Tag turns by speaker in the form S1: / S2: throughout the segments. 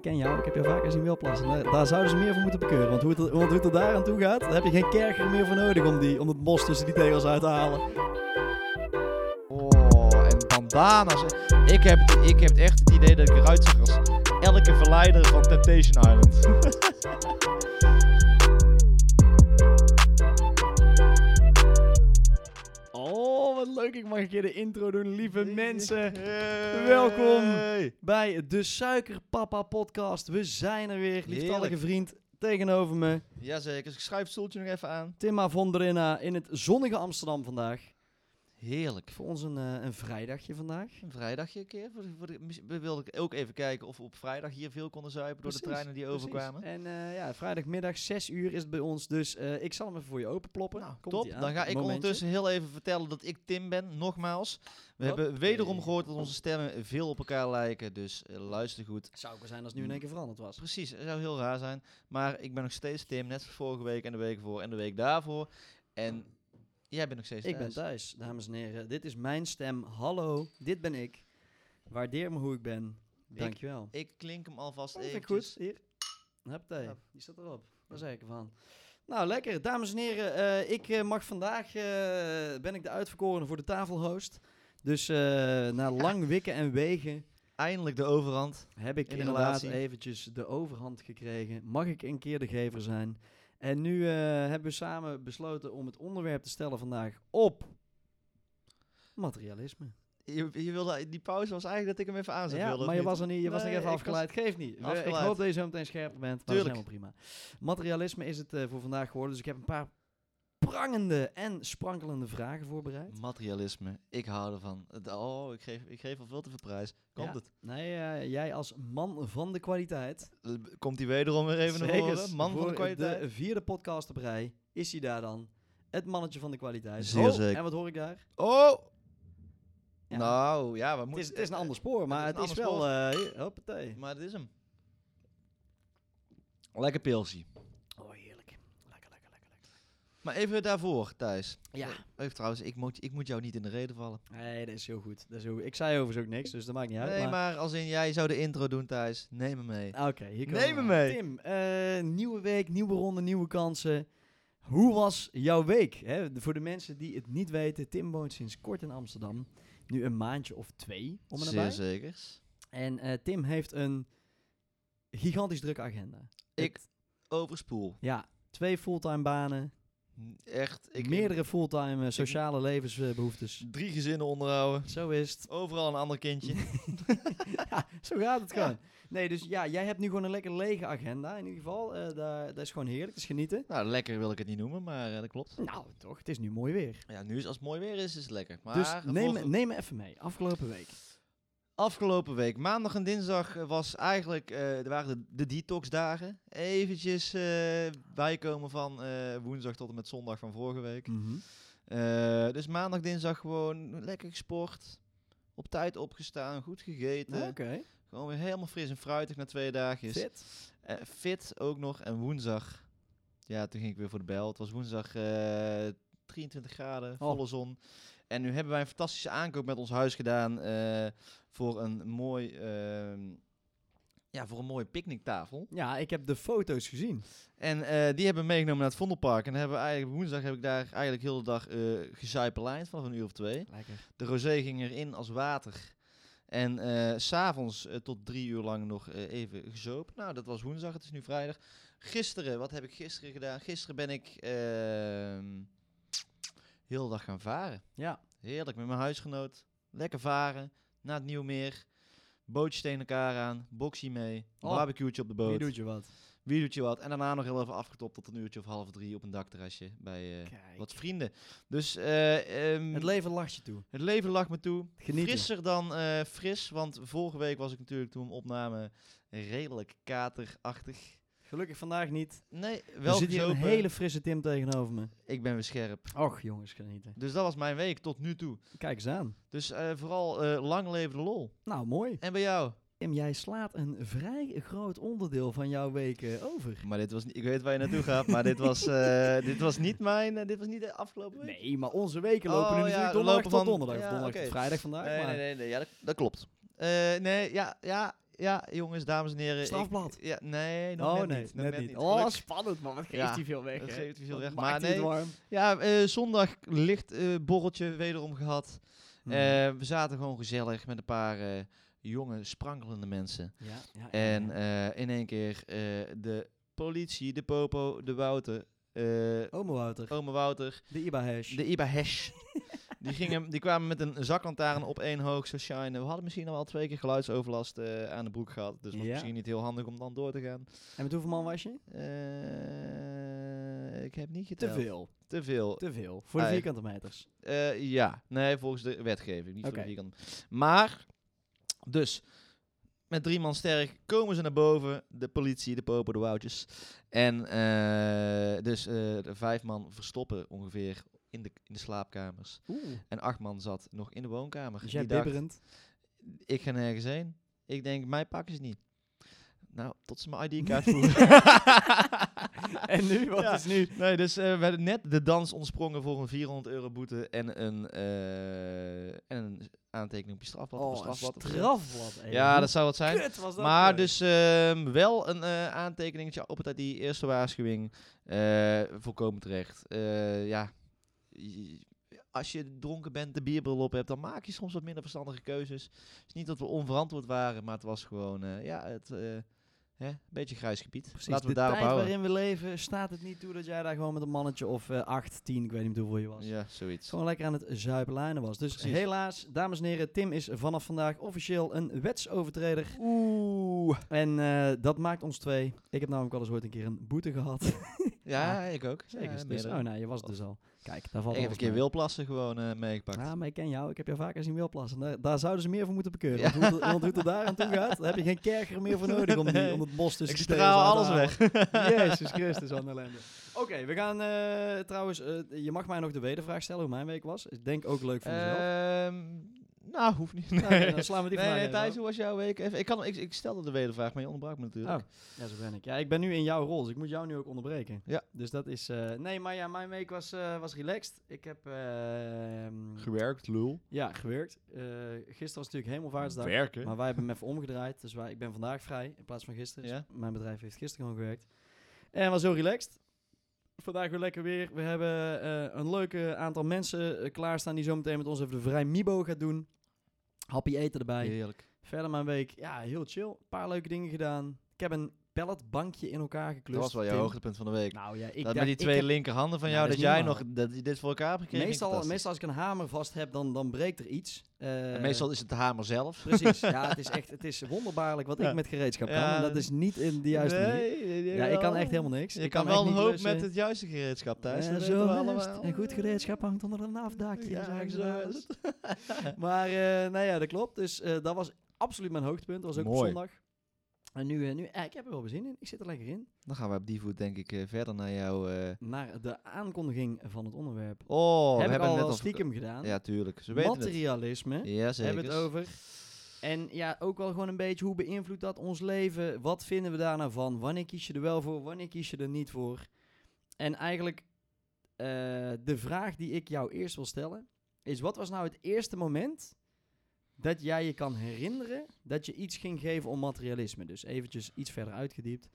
S1: ken jou, ik heb jou vaker zien wilplassen. Daar, daar zouden ze meer voor moeten bekeuren. Want hoe het, want hoe het er daar aan toe gaat, daar heb je geen kerker meer voor nodig om, die, om het mos tussen die tegels uit te halen.
S2: Oh, en bandanas. Ik heb, ik heb echt het idee dat ik eruit zag als elke verleider van Temptation Island.
S1: Oh, wat leuk. Ik mag een keer de intro doen, lieve mensen. welkom. Bij de Suikerpapa podcast. We zijn er weer. Lieftallige
S2: Heerlijk.
S1: vriend tegenover me.
S2: Jazeker, dus ik schuif het stoeltje nog even aan.
S1: Timma von der Inna in het zonnige Amsterdam vandaag.
S2: Heerlijk.
S1: Voor ons een, eh, een vrijdagje vandaag.
S2: Een vrijdagje een keer. Voor de- voor de- mis- we wilden ook even kijken of we op vrijdag hier veel konden zuipen door de
S1: Precies,
S2: treinen die
S1: precies.
S2: overkwamen.
S1: En eh, ja, vrijdagmiddag 6 uur is het bij ons. Dus eh, ik zal hem even voor je openploppen.
S2: Nou,
S1: Komt-ie
S2: top.
S1: Eh, aan,
S2: Dan ga ik
S1: momentje.
S2: ondertussen heel even vertellen dat ik Tim ben, nogmaals. We
S1: Oké.
S2: hebben wederom gehoord dat onze stemmen veel op elkaar lijken, dus eh, luister goed.
S1: Zou ook wel zijn als het nu in één keer veranderd was.
S2: Precies, dat zou heel raar zijn. Maar ik ben nog steeds Tim, net als vorige week en de week voor en de week daarvoor. En jij bent nog steeds
S1: Ik ben
S2: thuis.
S1: thuis, dames en heren. Dit is mijn stem. Hallo, dit ben ik. Waardeer me hoe ik ben. Dankjewel.
S2: Ik klink hem alvast
S1: Dat vind ik
S2: even.
S1: goed. Hier. Huppatee.
S2: Ja.
S1: Die staat erop. Daar zei ik ervan. Nou, lekker. Dames en heren, eh, ik eh, mag vandaag, eh, ben ik de uitverkorene voor de tafelhost. Dus eh, na lang wikken en wegen
S2: Eindelijk de overhand.
S1: heb ik
S2: In de
S1: inderdaad
S2: relatie.
S1: eventjes de overhand gekregen. Mag ik een keer de gever zijn? En nu eh, hebben we samen besloten om het onderwerp te stellen vandaag op materialisme.
S2: Je, je wilde, die pauze was eigenlijk dat ik hem even aan zou
S1: Ja,
S2: willen,
S1: maar
S2: of
S1: je
S2: niet?
S1: was er niet, je was nog
S2: Nee,
S1: even
S2: ik
S1: afgeleid. Geeft niet. We- Ik
S2: Afgeleid.
S1: hoop dat je zo meteen scherper bent, maar
S2: Tuurlijk.
S1: dat is helemaal prima. Materialisme is het eh, voor vandaag geworden, dus ik heb een paar prangende en sprankelende vragen
S2: Mm.
S1: voorbereid.
S2: Materialisme, ik hou ervan. Het- Oh, ik geef, ik geef al veel te veel prijs. Komt
S1: Ja. Nee, eh, jij als man van de kwaliteit.
S2: het? Komt hij wederom weer even naar
S1: Zeker.
S2: voren? Man van
S1: Voor
S2: de kwaliteit.
S1: De vierde podcast op rij is hij daar dan. Het mannetje van de kwaliteit.
S2: Zeer
S1: Oh,
S2: zeker.
S1: En wat hoor ik daar?
S2: Oh!
S1: Ja.
S2: Nou, ja, we
S1: Het
S2: moeten...
S1: is, het is een ander spoor, maar
S2: het
S1: het
S2: is
S1: is,
S2: een ander
S1: wel... eh hier, hoppatee.
S2: Maar dit is hem. Lekker pilsie.
S1: Oh, heerlijk. Lekker, lekker, lekker. lekker.
S2: Maar even daarvoor, Thijs.
S1: Ja.
S2: Even trouwens, ik moet, ik moet jou niet in de reden vallen.
S1: Nee, dat is heel goed. Dat is heel goed. Ik zei overigens ook niks, dus dat maakt niet uit.
S2: nee,
S1: maar-
S2: maar... als in jij zou de intro doen, Thijs. Neem me mee.
S1: Ah, Oké, hier komen
S2: Neem
S1: we.
S2: hem mee.
S1: Tim, eh, nieuwe week, nieuwe ronde, nieuwe kansen. Hoe was jouw week? Hè, de- voor de mensen die het niet weten, Tim woont sinds kort in Amsterdam. Nu een maandje of twee, om en
S2: Zeer
S1: nabij.
S2: zekers.
S1: En eh, Tim heeft een gigantisch drukke agenda.
S2: Ik-
S1: Het-
S2: Overspoel.
S1: ja, twee fulltime banen,
S2: Echt. Ik,
S1: meerdere fulltime eh, sociale levensbehoeftes.
S2: Drie gezinnen onderhouden.
S1: Zo is het.
S2: Overal een ander kindje.
S1: ja, zo gaat het gewoon. Nee, dus ja, jij hebt nu gewoon een lekker lege agenda in ieder geval. Eh, daar, dat is gewoon heerlijk, dat is genieten.
S2: nou, lekker wil ik het niet noemen, maar eh, dat klopt.
S1: Nou, toch, het is nu mooi weer.
S2: Ja, nu is als het mooi weer is, is het lekker. Maar
S1: dus neem, me-
S2: vorige-
S1: neem me even mee. Afgelopen week.
S2: Afgelopen week, maandag en dinsdag, eh, was eigenlijk, eh, er waren de, de detoxdagen. Eventjes eh, bijkomen van eh, woensdag tot en met zondag van vorige week. Eh, dus maandag, dinsdag gewoon lekker gesport. Op tijd opgestaan, goed gegeten.
S1: Eh, Oké.
S2: Gewoon weer helemaal fris en fruitig na twee dagjes. Eh,
S1: Fit.
S2: Fit. ook nog. En woensdag, ja, toen ging ik weer voor de bel. Het was woensdag eh, 23 graden,
S1: Oh.
S2: volle zon. En nu hebben wij een fantastische aankoop met ons huis gedaan eh, voor een mooi... ehm, ja, voor een mooie picknicktafel.
S1: Ja, ik heb de foto's gezien.
S2: En eh, die hebben we meegenomen naar het Vondelpark. En hebben we eigenlijk, woensdag heb ik daar eigenlijk heel de dag eh gezuipelijnd, vanaf een uur of twee.
S1: Lekker.
S2: De rosé ging erin als water. En eh, s s'avonds tot drie uur lang nog eh, even gezopen. Nou, dat was woensdag, het is nu vrijdag. Gisteren, wat heb ik gisteren gedaan? Gisteren ben ik ehm, heel de dag gaan varen.
S1: Ja.
S2: Heerlijk, met mijn huisgenoot. Lekker varen, naar het Nieuwmeer. Bootjes tegen elkaar aan, boxie mee,
S1: Oh.
S2: barbecue'tje op de boot.
S1: Wie doet je wat?
S2: Wie doet je wat? En daarna nog heel even afgetopt tot een uurtje of half drie op een dakterrasje bij eh,
S1: Kijk.
S2: wat vrienden. Dus eh, ehm,
S1: Het leven lacht je toe.
S2: het leven lag me toe.
S1: Genieten.
S2: Frisser dan eh, fris, want vorige week was ik natuurlijk toen we opnamen redelijk katerachtig.
S1: Gelukkig vandaag niet.
S2: Nee,
S1: Er
S2: wel
S1: zit hier een
S2: gezopen.
S1: hele frisse Tim tegenover me.
S2: Ik ben weer scherp.
S1: Och, jongens, genieten.
S2: Dus dat was mijn week tot nu toe.
S1: Kijk eens aan.
S2: Dus eh, vooral eh, lang leven de lol.
S1: Nou, mooi.
S2: En bij jou?
S1: Tim, jij slaat een vrij groot onderdeel van jouw week eh, over.
S2: Maar dit was niet, ik weet waar je naartoe gaat, maar dit was, eh, dit was niet mijn, eh, dit was niet de afgelopen week.
S1: Nee, maar onze weken lopen
S2: Oh,
S1: nu
S2: ja,
S1: natuurlijk
S2: we
S1: donderdag
S2: lopen
S1: tot
S2: van-
S1: donderdag. Of
S2: ja,
S1: donderdag tot
S2: oké.
S1: vrijdag vandaag.
S2: Nee,
S1: maar
S2: nee, nee, nee, ja, dat, dat klopt. Eh, nee, ja, ja, ja, jongens, dames en heren. ik-
S1: Strafblad.
S2: ja, nee, nog
S1: Oh
S2: net
S1: nee,
S2: niet. nog
S1: net niet. Oh,
S2: Gelukkig.
S1: spannend man. Wat geeft
S2: Ja,
S1: hij veel weg,
S2: dat
S1: hè?
S2: geeft hij veel
S1: Wat
S2: weg,
S1: maakt
S2: maar
S1: hij
S2: nee.
S1: het warm.
S2: Ja, eh, zondag licht eh, borreltje wederom gehad.
S1: Mhm.
S2: Eh, we zaten gewoon gezellig met een paar eh, jonge, sprankelende mensen.
S1: Ja, ja, ja,
S2: En
S1: ja.
S2: eh, in één keer eh, de politie, de Popo, de Wouter, eh
S1: Ome Wouter,
S2: ome Wouter,
S1: de IBA-hash.
S2: de Iba Hesh. die, gingen, die kwamen met een zaklantaarn op één hoog, zo shine. We hadden misschien al wel twee keer geluidsoverlast eh, aan de broek gehad. Dus was
S1: Ja.
S2: misschien niet heel handig om dan door te gaan.
S1: En met hoeveel man was je?
S2: Eh, ik heb niet
S1: Te
S2: geteld.
S1: veel.
S2: Te veel.
S1: Te veel. Voor de
S2: Ah, ja.
S1: vierkante meters.
S2: Eh, ja, nee, volgens de wetgeving. Niet voor
S1: Oké.
S2: de vierkante. Maar, dus, met drie man sterk komen ze naar boven. De politie, de popen, de woutjes. En eh, dus eh, de vijf man verstoppen ongeveer in de, in de slaapkamers.
S1: Oeh.
S2: En acht man zat nog in de woonkamer.
S1: Dus jij
S2: Die dacht,
S1: bibberend.
S2: ik ga nergens heen. Ik denk, mij pakken ze niet. Nou, tot ze mijn ID-kaart voeren.
S1: en nu? Wat
S2: Ja.
S1: is nu?
S2: Nee, dus eh, we hadden net de dans ontsprongen voor een 400 euro boete en een, eh, en een aantekening op je strafblad. op
S1: Oh,
S2: een
S1: een
S2: strafblad.
S1: strafblad. even.
S2: Ja, dat zou wat zijn.
S1: Kut was dat.
S2: Maar
S1: voor.
S2: dus ehm, wel een eh aantekeningetje op het uit die eerste waarschuwing. eh, volkomen terecht. Eh, ja, je- als je dronken bent, de bierbril op hebt, dan maak je soms wat minder verstandige keuzes. Het is niet dat we onverantwoord waren, maar het was gewoon, eh, ja, het... eh, hè, een beetje grijs gebied.
S1: Precies,
S2: Laten we
S1: de
S2: daarop
S1: tijd
S2: houden.
S1: waarin we leven staat het niet toe dat jij daar gewoon met een mannetje of eh, acht, tien, ik weet niet hoeveel je was.
S2: Ja, zoiets.
S1: Gewoon lekker aan het zuipelijnen was. Dus
S2: Precies.
S1: helaas, dames en heren, Tim is vanaf vandaag officieel een wetsovertreder.
S2: Oeh.
S1: En eh, dat maakt ons twee. Ik heb namelijk al eens ooit een keer een boete gehad.
S2: Ja, ik ook.
S1: Zeker.
S2: Ja,
S1: dus,
S2: meerdere.
S1: oh nee, je was het dus al. Kijk, daar valt
S2: ik heb een
S1: alles
S2: keer
S1: mee.
S2: wilplassen gewoon eh, meegepakt.
S1: Ja, maar ik ken jou. Ik heb jou vaker zien wilplassen. Daar, daar zouden ze meer voor moeten bekeuren.
S2: Ja.
S1: Want, hoe het, want hoe het er daar aan toe gaat, daar heb je geen kerker meer voor nodig om, die,
S2: Nee.
S1: om het bos tussen
S2: ik
S1: de tegels
S2: straal
S1: uit te halen.
S2: alles weg.
S1: Jezus Christus, aan de ellende. Oké, we gaan eh, trouwens... eh, je mag mij nog de wedervraag stellen hoe mijn week was. Ik denk ook leuk
S2: Eh,
S1: voor mezelf.
S2: Ehm, nou, hoeft niet.
S1: Nou, nee, dan slaan we die
S2: nee,
S1: vandaag even
S2: nee, Thijs,
S1: af. Oh.
S2: hoe was jouw week? Even, ik, kan, ik, ik stelde de wedervraag, maar je onderbrak me natuurlijk.
S1: Ja, zo ben ik. Ja, ik ben nu in jouw rol, dus ik moet jou nu ook onderbreken.
S2: Ja.
S1: Dus dat is... eh, nee, maar ja, mijn week was, eh, was relaxed. Ik heb... ehm,
S2: Gewerkt, lul.
S1: ja, gewerkt. Eh, gisteren was natuurlijk hemelvaartsdag.
S2: Werken.
S1: Maar wij hebben hem even omgedraaid. Dus wij, ik ben vandaag vrij in plaats van gisteren. Dus
S2: Ja.
S1: Mijn bedrijf heeft gisteren gewoon gewerkt. En was heel relaxed. Vandaag weer lekker weer. We hebben eh, een leuke aantal mensen eh, klaarstaan die zometeen met ons even de vrij Mibo gaat doen. Happy eten erbij.
S2: Heerlijk.
S1: Verder mijn week, ja, heel chill. Een paar leuke dingen gedaan. Ik heb een palletbankje in elkaar geklust.
S2: dat was wel jouw
S1: Tim.
S2: hoogtepunt van de week.
S1: Nou ja, ik
S2: dat
S1: dacht-
S2: met die
S1: ik
S2: twee
S1: heb-
S2: linkerhanden van
S1: Ja,
S2: jou,
S1: dat
S2: dat
S1: is
S2: jij
S1: niet
S2: nog
S1: normaal.
S2: dat je dit voor elkaar hebt gekregen.
S1: meestal,
S2: fantastisch.
S1: meestal als ik een hamer vast heb, dan, dan breekt er iets. Eh,
S2: En meestal is het de hamer zelf.
S1: Precies, ja, het is echt, het is wonderbaarlijk wat
S2: Ja.
S1: ik met gereedschap kan.
S2: Ja.
S1: En dat is niet in de juiste manier.
S2: nee, nee, nee,
S1: Ja, ik kan
S2: wel.
S1: echt helemaal niks.
S2: Je
S1: Ik
S2: kan,
S1: echt
S2: wel een
S1: niet
S2: hoop
S1: klussen.
S2: met het juiste gereedschap, Thijs.
S1: Ja,
S2: dat
S1: zo
S2: weten we
S1: juist.
S2: allemaal.
S1: En goed gereedschap hangt onder een afdakje,
S2: Ja,
S1: zagen ze
S2: zo
S1: wel
S2: is
S1: eens. maar eh, nou ja, dat klopt. Dus eh, dat was absoluut mijn hoogtepunt. Dat was ook op
S2: Mooi.
S1: zondag. En nu, eh, nu eh, ik heb er wel bezin in. Ik zit er lekker in.
S2: Dan gaan we op die voet denk ik eh, verder naar jouw... eh,
S1: Naar de aankondiging van het onderwerp.
S2: Oh,
S1: heb
S2: we
S1: ik
S2: hebben
S1: al
S2: net
S1: wel
S2: al
S1: stiekem gedaan.
S2: Ja, tuurlijk. Ze weten het.
S1: Materialisme.
S2: Ja, zeker.
S1: Hebben we het over. En ja, ook wel gewoon een beetje hoe beïnvloedt dat ons leven? Wat vinden we daar nou van? Wanneer kies je er wel voor? Wanneer kies je er niet voor? En eigenlijk eh, de vraag die ik jou eerst wil stellen is: wat was nou het eerste moment dat jij je kan herinneren dat je iets ging geven om materialisme? Dus eventjes iets verder uitgediept.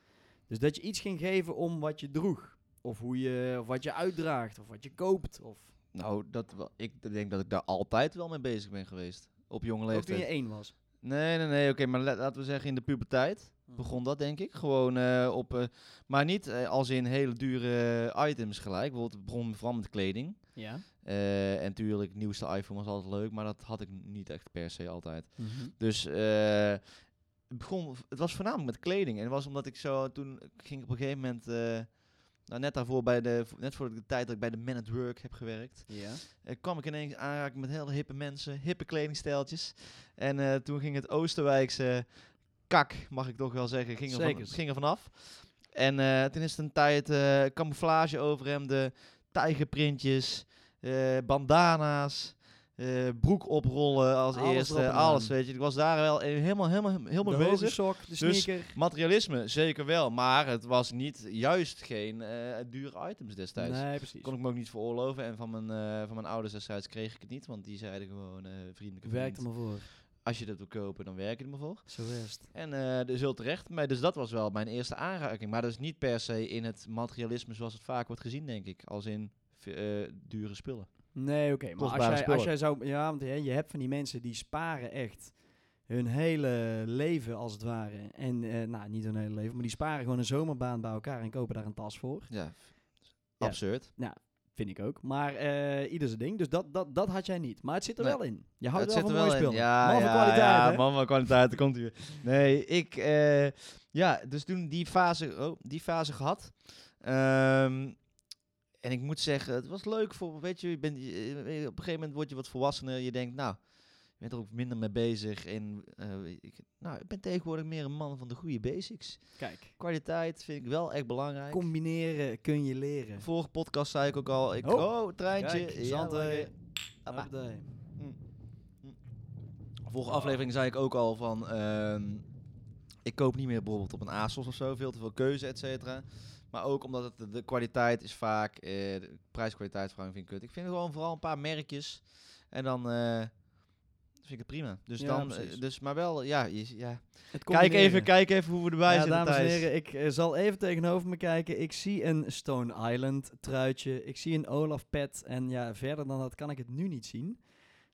S1: Dus dat je iets ging geven om wat je droeg. Of, hoe je, of wat je uitdraagt, of wat je koopt. Of
S2: Nou, dat, wel- ik denk dat ik daar altijd wel mee bezig ben geweest. Op jonge
S1: ook toen
S2: leeftijd.
S1: je één was.
S2: Nee, nee, nee. Oké, maar la- laten we zeggen in de puberteit begon dat, denk ik. Gewoon eh, op... eh, maar niet eh, als in hele dure eh, items gelijk. Bijvoorbeeld, het begon vooral met kleding.
S1: Ja.
S2: Eh, en tuurlijk, het nieuwste iPhone was altijd leuk. Maar dat had ik niet echt per se altijd. Dus eh, het, begon, het was voornamelijk met kleding. En het was omdat ik zo toen ik ging op een gegeven moment. eh, nou, net daarvoor, bij de, net voor de tijd dat ik bij de Man at Work heb gewerkt,
S1: Ja.
S2: eh, kwam ik ineens aanraken met hele hippe mensen, hippe kledingstijltjes. En eh, toen ging het Oosterwijkse kak, mag ik toch wel zeggen, ging er, van,
S1: Zeker.
S2: ging er vanaf. En eh, toen is het een tijd eh camouflage overhemden, tijgerprintjes, eh, bandana's, eh, broek oprollen
S1: Alles
S2: als
S1: erop
S2: eerste,
S1: en
S2: alles
S1: aan.
S2: weet je. Ik was daar wel eh, helemaal, helemaal, helemaal
S1: de
S2: mee
S1: hoge
S2: bezig. Dus
S1: sok, de sneaker.
S2: Materialisme, zeker wel, maar het was niet juist geen eh, dure items destijds.
S1: Nee, precies.
S2: Kon ik me ook niet veroorloven en van mijn, eh, van mijn ouders destijds kreeg ik het niet, want die zeiden gewoon eh vriendelijke
S1: Werkt er
S2: vriend,
S1: maar voor.
S2: Als je dat wil kopen, dan werk ik er maar voor.
S1: Zo is het.
S2: En eh dus heel terecht. Maar dus dat was wel mijn eerste aanraking. Maar dat is niet per se in het materialisme zoals het vaak wordt gezien, denk ik. Als in eh, dure spullen.
S1: Nee, oké. maar als
S2: Kostbare
S1: jij, als
S2: spullen.
S1: jij zou... Ja, want hè, je hebt van die mensen die sparen echt hun hele leven als het ware. En, eh, nou, niet hun hele leven, maar die sparen gewoon een zomerbaan bij elkaar en kopen daar een tas voor.
S2: Ja.
S1: Ja.
S2: Absurd.
S1: Vind ik ook. Maar eh, ieder zijn ding. Dus dat, dat, dat had jij niet. Maar het zit er
S2: Nee.
S1: wel in. Je houdt
S2: het
S1: wel
S2: zit
S1: van
S2: er
S1: mooi
S2: wel in.
S1: spul.
S2: Ja,
S1: man
S2: ja,
S1: van kwaliteit,
S2: ja,
S1: hè?
S2: man van kwaliteit, daar komt hij weer. Nee, ik... eh, ja, dus toen die fase, oh, die fase gehad. Ehm, en ik moet zeggen, het was leuk voor, weet je, je bent, je- eh, op een gegeven moment word je wat volwassener. Je denkt, nou, je bent er ook minder mee bezig. En eh, ik, nou, ik ben tegenwoordig meer een man van de goede basics.
S1: Kijk,
S2: Kwaliteit vind ik wel echt belangrijk.
S1: combineren kun je leren.
S2: Vorige podcast zei ik ook al, ik,
S1: Oh,
S2: oh, treintje.
S1: kijk,
S2: ja,
S1: zand,
S2: hoor je.
S1: eh,
S2: Hoppa.
S1: Hoppatee.
S2: Vorige aflevering zei ik ook al van... ehm, ik koop niet meer bijvoorbeeld op een ASOS of zo. Veel te veel keuze, et cetera. Maar ook omdat het, de- de kwaliteit is vaak... eh de prijs-kwaliteitsverhouding vind ik kut. Ik vind gewoon vooral een paar merkjes. En dan... eh, vind ik het prima. Dus
S1: Ja,
S2: dan...
S1: precies.
S2: eh, dus, maar wel, ja... je- ja.
S1: Het
S2: Kijk, even,
S1: combineren.
S2: kijk even hoe we erbij
S1: ja,
S2: zitten,
S1: dames en
S2: Thijs.
S1: heren, ik eh, zal even tegenover me kijken. Ik zie een Stone Island truitje. Ik zie een Olaf pet. En ja, verder dan dat kan ik het nu niet zien.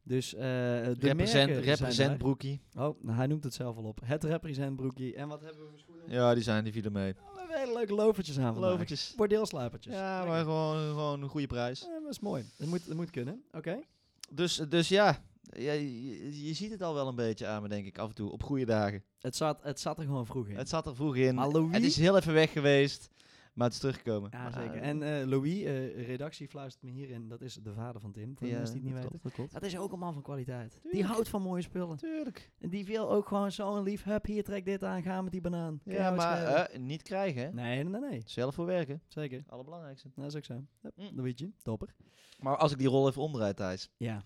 S1: Dus eh de
S2: Represent,
S1: merken zijn
S2: represent
S1: daar.
S2: broekie.
S1: Oh, nou, hij noemt het zelf al op. Het represent broekie. En wat hebben we voor schoenen?
S2: Ja, die zijn, die vielen mee.
S1: Oh, we hebben hele leuke lovertjes aan vandaag.
S2: Lovertjes.
S1: Bordeelsluipertjes.
S2: Ja,
S1: Lekker.
S2: maar gewoon, gewoon een goede prijs.
S1: Eh, dat is mooi. Dat moet, dat moet kunnen. Oké.
S2: Dus, dus ja, ja je, je ziet het al wel een beetje aan me, denk ik, af en toe, op goede dagen.
S1: Het, zat, het zat er gewoon vroeg in.
S2: Het zat er vroeg in.
S1: Maar Louis-
S2: Het is heel even weg geweest, maar het is teruggekomen.
S1: ja,
S2: Maar,
S1: zeker.
S2: eh,
S1: En eh, Louis, eh, redactie fluistert me hierin. Dat is de vader van Tim. Voor de
S2: ja,
S1: mensen die het niet
S2: dat
S1: weten.
S2: klopt, dat klopt.
S1: Dat is ook een man van kwaliteit. Die
S2: Tuurlijk.
S1: houdt van mooie spullen.
S2: Tuurlijk.
S1: En die wil ook gewoon zo'n lief, hup, hier trek dit aan, ga met die banaan. Kan
S2: Ja,
S1: jou het
S2: maar
S1: schelen?
S2: eh, niet krijgen, hè?
S1: nee, nee, nee, nee.
S2: Zelf voor werken,
S1: zeker.
S2: allerbelangrijkste.
S1: Dat is ook zo. Hup,
S2: Mm.
S1: Dat weet je, topper.
S2: Maar als ik die rol even omdraai, Thijs.
S1: Ja,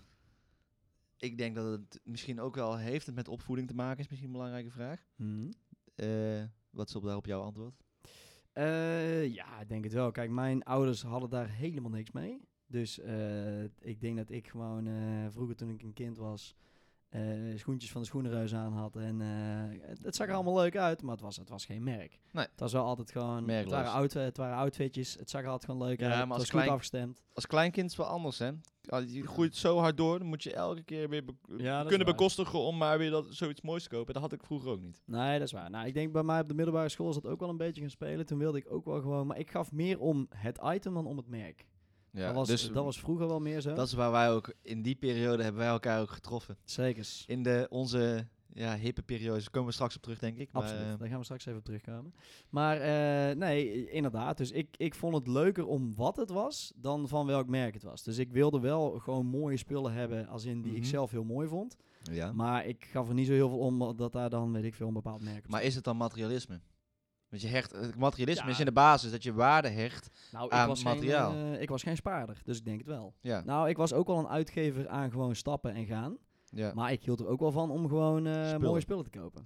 S2: Ik denk dat het misschien ook wel heeft het met opvoeding te maken, is misschien een belangrijke vraag.
S1: Mhm.
S2: Eh, wat is op daarop jouw antwoord?
S1: Eh, ja, ik denk het wel. Kijk, mijn ouders hadden daar helemaal niks mee. Dus eh, ik denk dat ik gewoon eh, vroeger toen ik een kind was, eh, schoentjes van de schoenenreus aan had. En eh, het, het zag er allemaal leuk uit, maar het was, het was geen merk.
S2: Nee.
S1: Het was wel altijd gewoon, het
S2: Merkloos.
S1: waren, outfit, het waren outfitjes, het zag er altijd gewoon leuk
S2: Ja,
S1: uit.
S2: maar
S1: het
S2: als
S1: was goed
S2: klein-
S1: afgestemd.
S2: Als kleinkind is het wel anders, hè? Als Je groeit zo hard door, dan moet je elke keer weer be-
S1: Ja, dat is
S2: kunnen
S1: waar.
S2: bekostigen om maar weer dat, zoiets moois te kopen. Dat had ik vroeger ook niet.
S1: Nee, dat is waar. Nou, ik denk bij mij op de middelbare school is dat ook wel een beetje gaan spelen. Toen wilde ik ook wel gewoon, maar ik gaf meer om het item dan om het merk.
S2: Ja,
S1: dat, was,
S2: dus
S1: dat was vroeger wel meer zo.
S2: dat is waar wij ook in die periode hebben wij elkaar ook getroffen.
S1: Zekers.
S2: In de, onze ja, hippe periode, daar komen we straks op terug, denk ik. Maar,
S1: Absoluut,
S2: eh,
S1: daar gaan we straks even op terugkomen. Maar eh, nee, inderdaad. Dus ik, ik vond het leuker om wat het was dan van welk merk het was. Dus ik wilde wel gewoon mooie spullen hebben, als in die ik
S2: Mhm.
S1: zelf heel mooi vond.
S2: ja. maar,
S1: Maar ik gaf er niet zo heel veel om dat daar dan, weet ik veel, een bepaald merk op
S2: is het dan materialisme? Want je hecht, het materialisme
S1: Ja.
S2: is in de basis dat je waarde hecht.
S1: stond. Nou, ik
S2: aan
S1: was,
S2: materiaal.
S1: Geen, eh, ik was geen spaarder, dus ik denk het wel.
S2: Ja,
S1: Nou, ik was ook wel een uitgever aan gewoon stappen en gaan.
S2: ja.
S1: Maar ik hield er ook wel van om gewoon eh,
S2: Spullen.
S1: mooie spullen te kopen.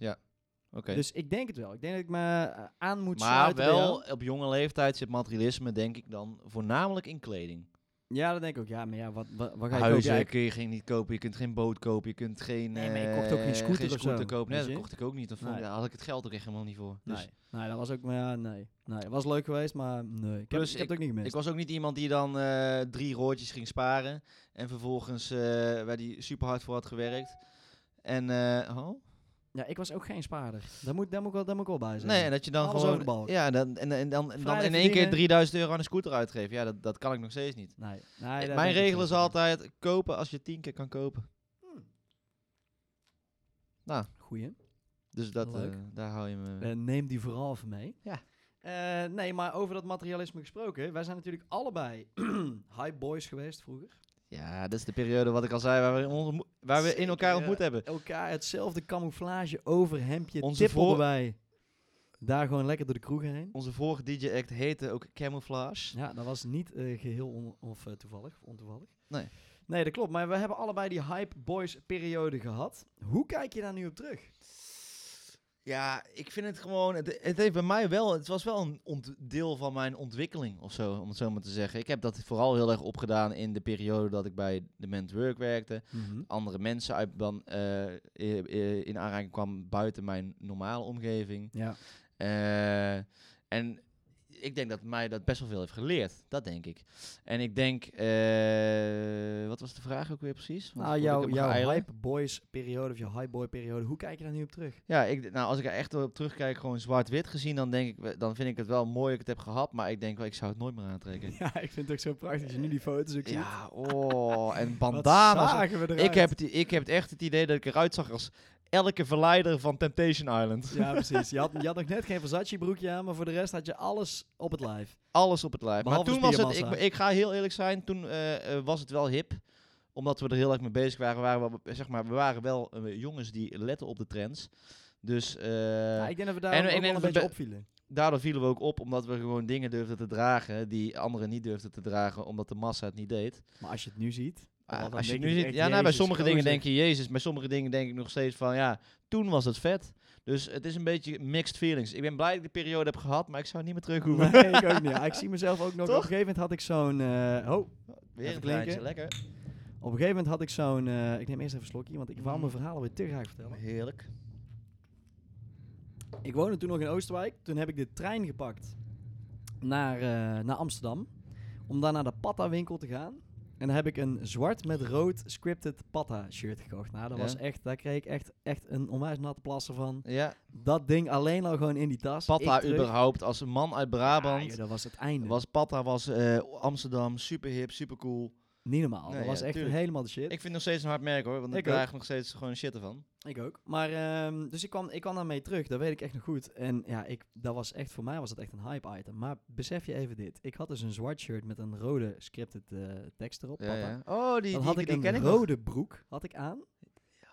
S2: oké.
S1: Dus ik denk het wel. Ik denk dat ik me eh, aan moet
S2: maar
S1: sluiten bij jou.
S2: wel op jonge leeftijd zit materialisme, denk ik, dan voornamelijk in kleding.
S1: Ja, dat denk ik ook. Ja, maar ja, wat, wat, wat ga je kopen?
S2: Huizen
S1: Ja, ik-
S2: kun je geen, niet kopen, je kunt geen boot kopen, je kunt geen...
S1: Nee, maar je kocht ook geen
S2: eh,
S1: scooter of zo,
S2: kopen.
S1: weet
S2: Nee, dat
S1: je?
S2: kocht ik ook niet. Dan vond ik-
S1: Nee.
S2: Daar had ik het geld ook echt helemaal niet voor. Dus
S1: Nee, nee, dat was ook, maar ja, nee. Nee, het was leuk geweest, maar nee. Ik heb,
S2: Plus,
S1: ik heb het ook niet
S2: Ik
S1: gemist.
S2: was ook niet iemand die dan eh, drie roodjes ging sparen. En vervolgens eh waar die super hard voor had gewerkt. En, eh, oh?
S1: ja, ik was ook geen spaarder. Daar moet, daar moet, ik, wel, daar moet ik wel bij zijn.
S2: Nee, en dat je dan
S1: Alles over de
S2: gewoon.
S1: balk.
S2: Ja, dan, en, en dan, en dan
S1: Vrijdag
S2: in één keer
S1: verdienen.
S2: 3000 euro aan een scooter uitgeven. Ja, dat, dat kan ik nog steeds niet.
S1: nee, nee, daar ben
S2: Mijn
S1: ik
S2: regel
S1: ook
S2: is
S1: niet.
S2: altijd: kopen als je tien keer kan kopen.
S1: Goeie.
S2: Dus dat,
S1: Leuk.
S2: eh, daar hou je me.
S1: Eh, neem die vooral even mee.
S2: Ja.
S1: Eh, nee, maar over dat materialisme gesproken. Wij zijn natuurlijk allebei high boys geweest vroeger.
S2: Ja, dat is de periode wat ik al zei waar we, ontmo- waar we in
S1: Zeker,
S2: elkaar
S1: ja.
S2: ontmoet hebben.
S1: Elkaar hetzelfde camouflage overhemdje
S2: Onze
S1: tippelden
S2: voor-
S1: wij daar gewoon lekker door de kroeg heen.
S2: Onze vorige DJ-act heette ook Camouflage.
S1: Ja, dat was niet eh, geheel on- of eh, toevallig of ontoevallig.
S2: Nee.
S1: Nee, dat klopt. Maar we hebben allebei die hype boys periode gehad. Hoe kijk je daar nu op terug?
S2: Ja, ik vind het gewoon. Het, het heeft bij mij wel. Het was wel een ont- deel van mijn ontwikkeling of zo, om het zo maar te zeggen. Ik heb dat vooral heel erg opgedaan in de periode dat ik bij de Ment Work werkte.
S1: Mhm.
S2: Andere mensen uit dan eh, i- i- in aanraking kwam buiten mijn normale omgeving.
S1: Ja.
S2: Eh, en ik denk dat mij dat best wel veel heeft geleerd. Dat denk ik. En ik denk. eh, wat was de vraag ook weer precies? Want
S1: Nou,
S2: voordat ik
S1: jouw,
S2: hem ga
S1: jouw
S2: eilen.
S1: hype boys periode of jouw hype boy periode, hoe kijk je daar nu op terug?
S2: Ja, ik, nou, als ik er echt op terugkijk, gewoon zwart-wit gezien, dan, denk ik, we- dan vind ik het wel mooi dat ik het heb gehad. Maar ik denk wel, ik zou het nooit meer aantrekken.
S1: Ja, ik vind het ook zo prachtig als je nu die foto's ook ziet.
S2: Ja, oh, en
S1: Wat
S2: bandana's.
S1: zagen we eruit?
S2: Ik heb, het, i- ik heb het echt het idee dat ik eruit zag als elke verleider van Temptation Island.
S1: Ja, precies. Je had, je had nog net geen Versace broekje aan, maar voor de rest had je alles op het lijf.
S2: Alles op het lijf. Maar
S1: Behalve de
S2: toen was het, ik,
S1: spiermassa.
S2: ik ga heel eerlijk zijn, toen eh, eh, was het wel hip omdat we er heel erg mee bezig waren, waren we, zeg maar, we waren wel eh, jongens die letten op de trends. Dus eh,
S1: Ja, ik denk dat we daar
S2: en-
S1: ook
S2: en-
S1: wel
S2: en
S1: een
S2: we
S1: beetje
S2: be-
S1: opvielen.
S2: daardoor vielen we ook op omdat we gewoon dingen durfden te dragen die anderen niet durfden te dragen omdat de massa het niet deed.
S1: Maar als je het nu ziet...
S2: Ah,
S1: dan
S2: als je
S1: denk
S2: nu
S1: ik
S2: ziet,
S1: echt,
S2: ja, nou, bij
S1: Jezus,
S2: sommige dingen
S1: gozer.
S2: denk je Jezus, bij sommige dingen denk ik nog steeds van ja, toen was het vet. Dus het is een beetje mixed feelings. Ik ben blij dat ik die periode heb gehad, maar ik zou niet meer terug hoeven.
S1: Nee, ik ook niet. Ja, ik zie mezelf ook nog... Op
S2: Toch?
S1: een gegeven moment had ik zo'n... eh, oh,
S2: Weer
S1: Even klinken.
S2: een kleintje, lekker.
S1: op een gegeven moment had ik zo'n... eh, ik neem eerst even een slokje, want ik wou
S2: Mm.
S1: mijn verhalen weer te graag vertellen.
S2: Heerlijk.
S1: Ik woonde toen nog in Oosterwijk. Toen heb ik de trein gepakt naar, eh, naar Amsterdam. Om daar naar de Patta-winkel te gaan. En daar heb ik een zwart met rood scripted Patta-shirt gekocht. Nou, dat
S2: Ja.
S1: was echt, daar kreeg ik echt, echt een onwijs natte plassen van.
S2: Ja,
S1: Dat ding alleen al gewoon in die tas.
S2: Patta
S1: Ik terug.
S2: überhaupt als een man uit
S1: Ah,
S2: Brabant.
S1: joh, dat was het einde.
S2: was Patta was eh, Amsterdam super hip, super cool.
S1: Niet normaal.
S2: Nee,
S1: dat
S2: ja,
S1: was echt
S2: tuurlijk.
S1: helemaal de shit.
S2: Ik vind het nog steeds een hard merk hoor, want ik
S1: Ik ook.
S2: draag nog steeds gewoon shit ervan.
S1: Ik ook. Maar, ehm, dus ik kwam, ik kwam daarmee terug, dat weet ik echt nog goed. En ja, ik, dat was echt, voor mij was dat echt een hype item. Maar besef je even dit. Ik had dus een zwart shirt met een rode scripted eh, tekst erop.
S2: Ja,
S1: papa.
S2: ja. Oh, die,
S1: Dan
S2: die,
S1: had
S2: die
S1: ik een
S2: ken ik nog.
S1: rode broek had ik aan.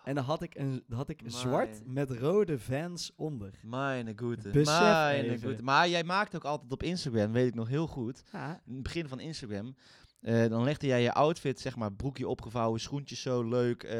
S1: En dan had ik, een, dan had ik
S2: Amai.
S1: zwart met rode vans onder.
S2: Meine goede.
S1: Besef
S2: Meine
S1: even.
S2: goede. Maar jij maakt ook altijd op Instagram, weet ik nog heel goed.
S1: Ja,
S2: In het begin van Instagram. eh, dan legde jij je outfit, zeg maar, broekje opgevouwen, schoentjes zo leuk eh,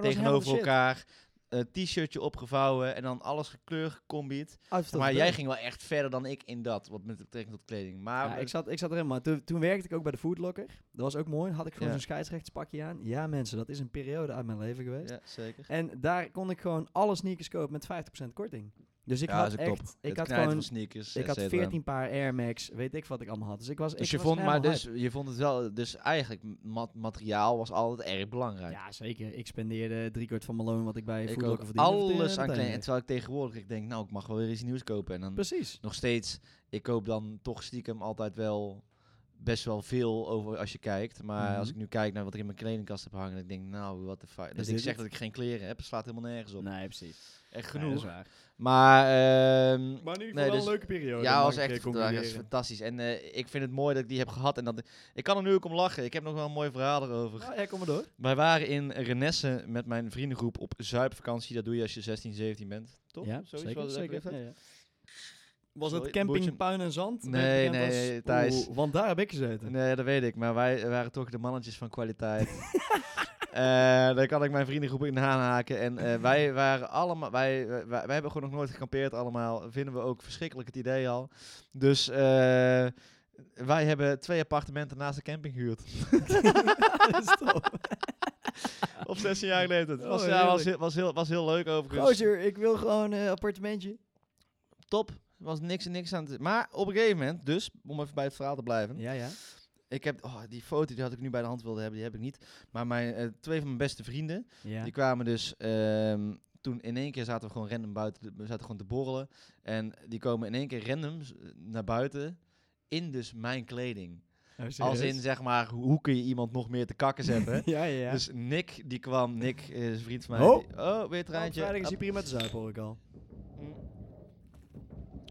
S2: tegenover elkaar. eh, T-shirtje opgevouwen en dan alles gekleurd gecombied. maar jij ging wel echt verder dan ik in dat, wat met betrekking tot kleding. Maar
S1: Ja,
S2: eh,
S1: ik, zat, ik zat erin, maar toen, toen werkte ik ook bij de Foodlocker. Dat was ook mooi. Had ik gewoon
S2: Ja.
S1: zo'n scheidsrechtspakje aan. Ja, mensen, dat is een periode uit mijn leven geweest.
S2: eh, ja, zeker.
S1: En daar kon ik gewoon alle sneakers kopen met 50% korting. Dus ik
S2: Ja,
S1: had
S2: dat is ook top.
S1: echt, ik
S2: Het
S1: had
S2: knijten
S1: gewoon,
S2: van sneakers,
S1: ik had
S2: et cetera.
S1: 14 paar Air Max, weet ik wat ik allemaal had. Dus ik was,
S2: Dus
S1: ik
S2: je
S1: was
S2: vond, maar
S1: helemaal
S2: dus, je vond het wel, dus eigenlijk ma- materiaal was altijd erg
S1: hype.
S2: belangrijk.
S1: Ja, zeker. Ik spendeerde driekwart van mijn loon wat ik bij
S2: ik ook
S1: Foodlocker verdiende.
S2: alles aan kleding. En
S1: kleding.
S2: terwijl ik tegenwoordig ik denk, nou, ik mag wel weer iets nieuws kopen. En dan
S1: Precies.
S2: nog steeds, ik koop dan toch stiekem altijd wel best wel veel over als je kijkt. Maar
S1: Mhm.
S2: als ik nu kijk naar wat ik in mijn kledingkast heb hangen, dan denk ik, nou, wat de fuck. Dus
S1: dit
S2: ik zeg
S1: het?
S2: dat ik geen kleren heb, slaat helemaal nergens op.
S1: Nee, precies.
S2: Echt
S1: Nee, dat is
S2: genoeg.
S1: waar.
S2: maar ehm,
S1: Maar nu
S2: Nee, wel dus- een
S1: leuke periode. eh,
S2: ja, was echt dat is fantastisch. En eh, ik vind het mooi dat ik die heb gehad. En dat, ik kan er nu ook om lachen. Ik heb nog wel een mooi verhaal erover.
S1: ja, kom maar door.
S2: Wij waren in Renesse met mijn vriendengroep op zuipvakantie. Dat doe je als je 16, 17 bent. Toch?
S1: Ja,
S2: Zoiets was het ook weer.
S1: Ja, ja. Was
S2: Sorry,
S1: het camping
S2: boertje.
S1: Puin en Zand?
S2: Nee,
S1: Werd bekend
S2: nee,
S1: als-
S2: Thijs.
S1: Oeh, want daar heb ik gezeten.
S2: Nee, dat weet ik. Maar wij waren toch de mannetjes van kwaliteit. Eh daar kan ik mijn vriendengroep in aanhaken. En eh, wij waren allemaal... Wij, wij, wij hebben gewoon nog nooit gekampeerd allemaal. Vinden we ook verschrikkelijk het idee al. Dus eh, wij hebben twee appartementen naast de camping gehuurd.
S1: Dat is top.
S2: Op 16 jaar leeftijd. Het was,
S1: Oh,
S2: ja,
S1: heerlijk.
S2: was, heel- was, heel, was heel leuk overigens.
S1: Gozer, ik wil gewoon een appartementje.
S2: Top. Er was niks en niks aan het... Maar op een gegeven moment, dus, om even bij het verhaal te blijven...
S1: Ja, ja.
S2: Ik heb oh, die foto die had ik nu bij de hand wilde hebben, die heb ik niet. Maar mijn, eh, twee van mijn beste vrienden,
S1: ja.
S2: die kwamen dus ehm, toen in één keer zaten we gewoon random buiten, te- we zaten gewoon te borrelen. En die komen in één keer random z- naar buiten in dus mijn kleding.
S1: Oh,
S2: Als in zeg maar, ho- hoe kun je iemand nog meer te kakken zetten?
S1: Ja, ja, ja.
S2: Dus Nick, die kwam, Nick is een vriend van mij.
S1: Ho!
S2: die- oh weer het
S1: Oh, op
S2: treintje.
S1: vrijdag is hij
S2: Hop.
S1: prima te zuipen, hoor ik al.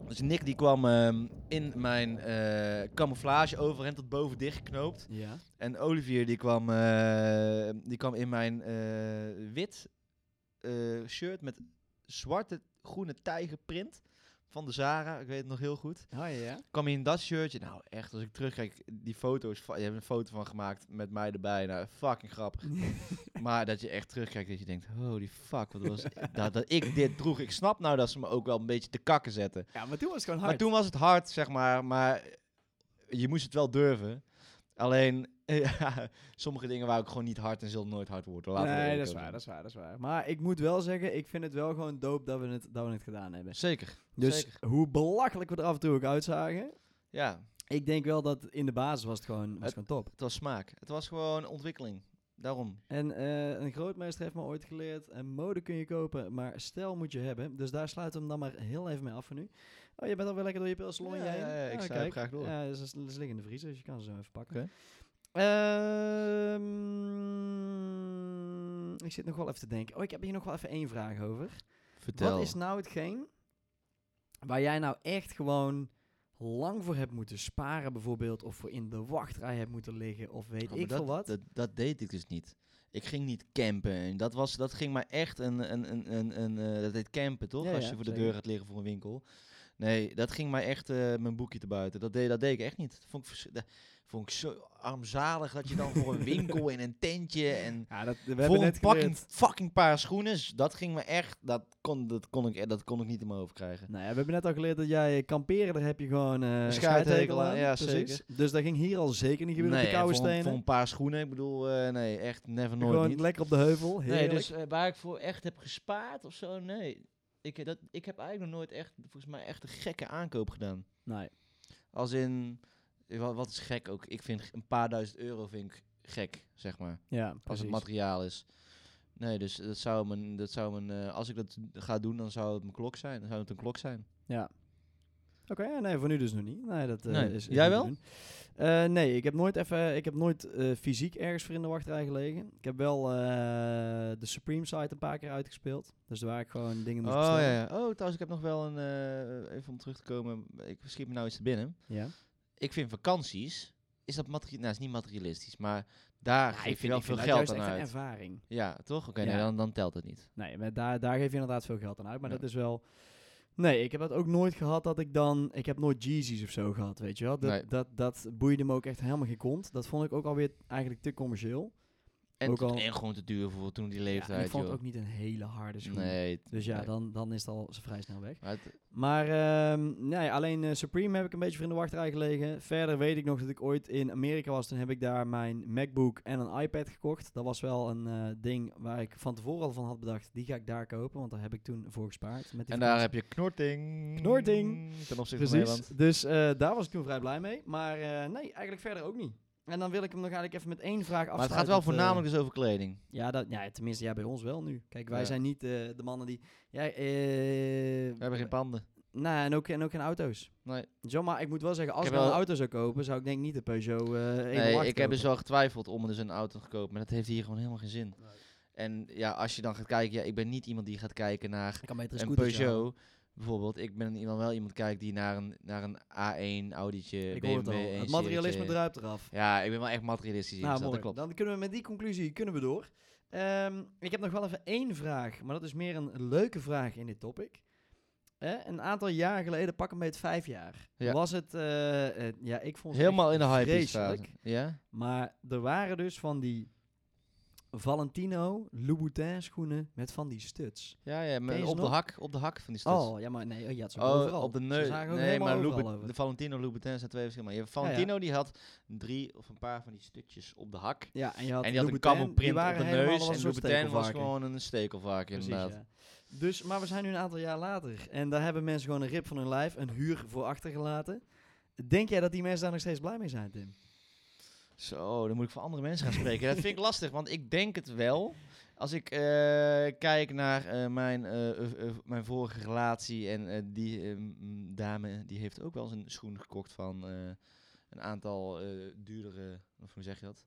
S2: Dus Nick die kwam ehm, in mijn eh camouflage overhemd tot boven dicht geknoopt.
S1: Ja.
S2: En Olivier die kwam, eh, die kwam in mijn eh, wit eh, shirt met zwarte groene tijgerprint. van de Zara. Ik weet het nog heel goed.
S1: Oh ja, ja.
S2: Kwam hij in dat shirtje. Nou, echt, als ik terugkijk, die foto's. fa- Je hebt een foto van gemaakt met mij erbij. Nou, fucking grappig. maar dat je echt terugkijkt, dat je denkt, holy fuck, wat was dat, dat ik dit droeg. Ik snap nou dat ze me ook wel een beetje te kakken zetten.
S1: Ja, maar toen was het gewoon
S2: Maar
S1: hard.
S2: toen was het hard, zeg maar. Maar je moest het wel durven. Alleen, ja, sommige dingen waren ook gewoon niet hard en zullen nooit hard worden. Laten we
S1: nee,
S2: eerlijk
S1: dat is
S2: over
S1: waar, dat
S2: zijn.
S1: is waar, dat is waar. Maar ik moet wel zeggen, ik vind het wel gewoon dope dat we het, dat we het gedaan hebben.
S2: Zeker.
S1: Dus
S2: Zeker.
S1: hoe belachelijk we er af en toe ook uitzagen,
S2: Ja,
S1: ik denk wel dat in de basis was het gewoon, was het gewoon top.
S2: het was smaak. Het was gewoon ontwikkeling. Daarom.
S1: En eh, een grootmeester heeft me ooit geleerd, en mode kun je kopen, maar stijl moet je hebben. Dus daar sluiten we hem dan maar heel even mee af voor nu. Oh, je bent alweer lekker door je pilsalon
S2: Ja,
S1: heen?
S2: ja, ja, ik
S1: Ah,
S2: zuip
S1: kijk.
S2: graag door.
S1: Ja, ze, ze liggen in de vriezer, dus je kan ze zo even pakken.
S2: Oké.
S1: Ehm, ik zit nog wel even te denken. Oh, ik heb hier nog wel even één vraag over.
S2: Vertel.
S1: Wat is nou hetgeen waar jij nou echt gewoon lang voor hebt moeten sparen bijvoorbeeld, of voor in de wachtrij hebt moeten liggen, of weet
S2: Oh, maar
S1: ik
S2: dat,
S1: veel wat?
S2: Dat, dat deed ik dus niet. Ik ging niet campen. En Dat, was, dat ging maar echt een... een, een, een, een eh, dat heet campen, toch?
S1: Ja,
S2: Als
S1: ja,
S2: je voor de
S1: zeker.
S2: deur gaat liggen voor een winkel. Nee, dat ging mij echt eh, mijn boekje te buiten. Dat deed, dat deed ik echt niet. Dat vond ik, vers- dat vond ik zo armzalig dat je dan voor een winkel in een tentje... en
S1: ja, dat, we
S2: voor een fucking, fucking paar schoenen. Dus Dat ging me echt... Dat kon, dat kon, ik, dat kon ik niet in mijn hoofd krijgen.
S1: Nou ja, we hebben net al geleerd dat jij kamperen, daar heb je gewoon eh
S2: Een
S1: scheidhekel
S2: scheidhekel
S1: aan.
S2: aan, ja,
S1: precies. Dus dat ging hier al zeker niet gebeuren op de
S2: en
S1: koude
S2: voor, een-
S1: stenen.
S2: voor een paar schoenen. Ik bedoel, eh, nee, echt never nooit
S1: gewoon
S2: niet.
S1: lekker op de heuvel, heerlijk.
S2: Nee, dus eh, waar ik voor echt heb gespaard of zo, nee. Ik, eh, dat, ik heb eigenlijk nog nooit echt, volgens mij, echt een gekke aankoop gedaan.
S1: Nee.
S2: Als in, eh, wa- wat is gek ook? Ik vind g- een paar duizend euro vind ik gek, zeg maar.
S1: Ja,
S2: Als het
S1: precies.
S2: materiaal is. Nee, dus dat zou mijn, dat zou mijn eh, als ik dat ga doen, dan zou het mijn klok zijn. Dan zou het een klok zijn.
S1: Oké, ja, nee, voor nu dus nog niet. Nee, dat eh,
S2: Nee.
S1: is, is niet
S2: Jij
S1: te
S2: wel?
S1: doen. Eh, nee, ik heb nooit, even, ik heb nooit eh, fysiek ergens voor in de wachtrij gelegen. Ik heb wel eh, de Supreme site een paar keer uitgespeeld. Dus daar waar ik gewoon dingen moest
S2: Oh ja,
S1: bestellen.
S2: ja. Oh, trouwens, ik heb nog wel een, eh, even om terug te komen. Ik schiet me nou iets te binnen.
S1: ja.
S2: Ik vind vakanties, is dat materiaal, nou, is niet materialistisch, maar daar
S1: Ja,
S2: geef je wel
S1: Ah, ik
S2: veel
S1: dat
S2: geld
S1: juist
S2: aan
S1: echt
S2: uit.
S1: een ervaring.
S2: Ja, toch? Oké,
S1: Ja.
S2: nee, dan, dan telt het niet.
S1: Nee, maar daar, daar geef je inderdaad veel geld aan uit. Maar
S2: Ja.
S1: dat is wel... Nee, ik heb dat ook nooit gehad dat ik dan... Ik heb nooit Jeezys of zo gehad, weet je wel. Dat,
S2: Nee.
S1: dat, dat boeide me ook echt helemaal geen kont. Dat vond ik ook alweer eigenlijk te commercieel.
S2: En,
S1: Ook
S2: te-
S1: al-
S2: en gewoon te duur voor toen die
S1: Ja, en ik
S2: leeftijd,
S1: vond het
S2: joh.
S1: ook niet een hele harde schoen.
S2: nee. t-
S1: Dus ja,
S2: nee.
S1: dan, dan is het al vrij snel weg.
S2: Maar het-
S1: Maar ehm, nee, alleen eh, Supreme heb ik een beetje voor in de wachtrij gelegen. Verder weet ik nog dat ik ooit in Amerika was. Toen heb ik daar mijn MacBook en een iPad gekocht. Dat was wel een eh, ding waar ik van tevoren al van had bedacht. Die ga ik daar kopen, want daar heb ik toen voor gespaard. Met die
S2: en daar
S1: vakantie.
S2: heb je knorting.
S1: Knorting.
S2: Ten opzichte van
S1: Precies.
S2: Nederland.
S1: Dus eh, daar was ik toen vrij blij mee. Maar eh, nee, eigenlijk verder ook niet. En dan wil ik hem nog eigenlijk even met één vraag afsluiten.
S2: Maar het gaat wel
S1: want, eh,
S2: voornamelijk dus over kleding.
S1: ja, dat, ja, tenminste, jij bij ons wel nu. Kijk, wij
S2: Ja.
S1: zijn niet eh, de mannen die... eh, Jij,
S2: We hebben geen panden.
S1: Nou, en ook, en ook geen auto's.
S2: Nee.
S1: Zo, maar ik moet wel zeggen, als ik
S2: Ik heb
S1: wel een
S2: wel-
S1: auto zou kopen, zou ik denk niet de Peugeot eh
S2: Nee,
S1: 108
S2: ik heb dus
S1: kopen.
S2: wel getwijfeld om dus een auto te kopen. Maar dat heeft hier gewoon helemaal geen zin. En ja, als je dan gaat kijken... Ja, ik ben niet iemand die gaat kijken naar
S1: Ik kan beter een
S2: een
S1: scooter
S2: Peugeot. Bijvoorbeeld, ik ben iemand, wel iemand kijkt die naar een, naar een A1 Audi'tje,
S1: Ik
S2: BMW
S1: hoor het al.
S2: 1
S1: Het materialisme
S2: serietje.
S1: druipt eraf.
S2: Ja, ik ben wel echt materialistisch.
S1: nou,
S2: ingesteld,
S1: mooi.
S2: dat klopt.
S1: Dan kunnen we met die conclusie kunnen we door. Ehm, ik heb nog wel even één vraag, maar dat is meer een leuke vraag in dit topic. Eh, een aantal jaar geleden, pak een beetje vijf jaar,
S2: Ja.
S1: was het... eh, eh, ja, ik vond het
S2: Helemaal in de hype is
S1: vreselijk.
S2: fase. Ja?
S1: Maar er waren dus van die Valentino Louboutin schoenen met van die studs.
S2: Ja, ja, maar
S1: je
S2: op
S1: ze
S2: de
S1: nog?
S2: hak, op de hak van die studs.
S1: Oh, ja, maar nee, oh, je had ze ook
S2: Dus Oh,
S1: overal.
S2: op de
S1: Ze
S2: neus.
S1: zagen ook
S2: Nee,
S1: helemaal
S2: maar
S1: overal
S2: Loubou-
S1: over.
S2: de Valentino Louboutin zijn twee verschillende. Je hebt
S1: ja.
S2: Valentino die had drie of een paar van die stukjes op de hak.
S1: Ja, en je had
S2: en die had een
S1: Louboutin, die
S2: camelprint op
S1: waren
S2: de
S1: helemaal
S2: neus.
S1: als een
S2: En
S1: soort
S2: Louboutin was
S1: stekelvarken.
S2: gewoon een stekelvark,
S1: Precies,
S2: inderdaad.
S1: ja. Dus, maar we zijn nu een aantal jaar later. En daar hebben mensen gewoon een rip van hun lijf, een huur voor achtergelaten. Denk jij dat die mensen daar nog steeds blij mee zijn, Tim?
S2: Zo, dan moet ik voor andere mensen gaan spreken. dat vind ik lastig, want ik denk het wel. Als ik eh, kijk naar eh, mijn, eh, eh, eh, mijn vorige relatie en eh, die eh, mm, dame, die heeft ook wel eens een schoen gekocht van eh, een aantal eh, duurdere, of hoe zeg je dat?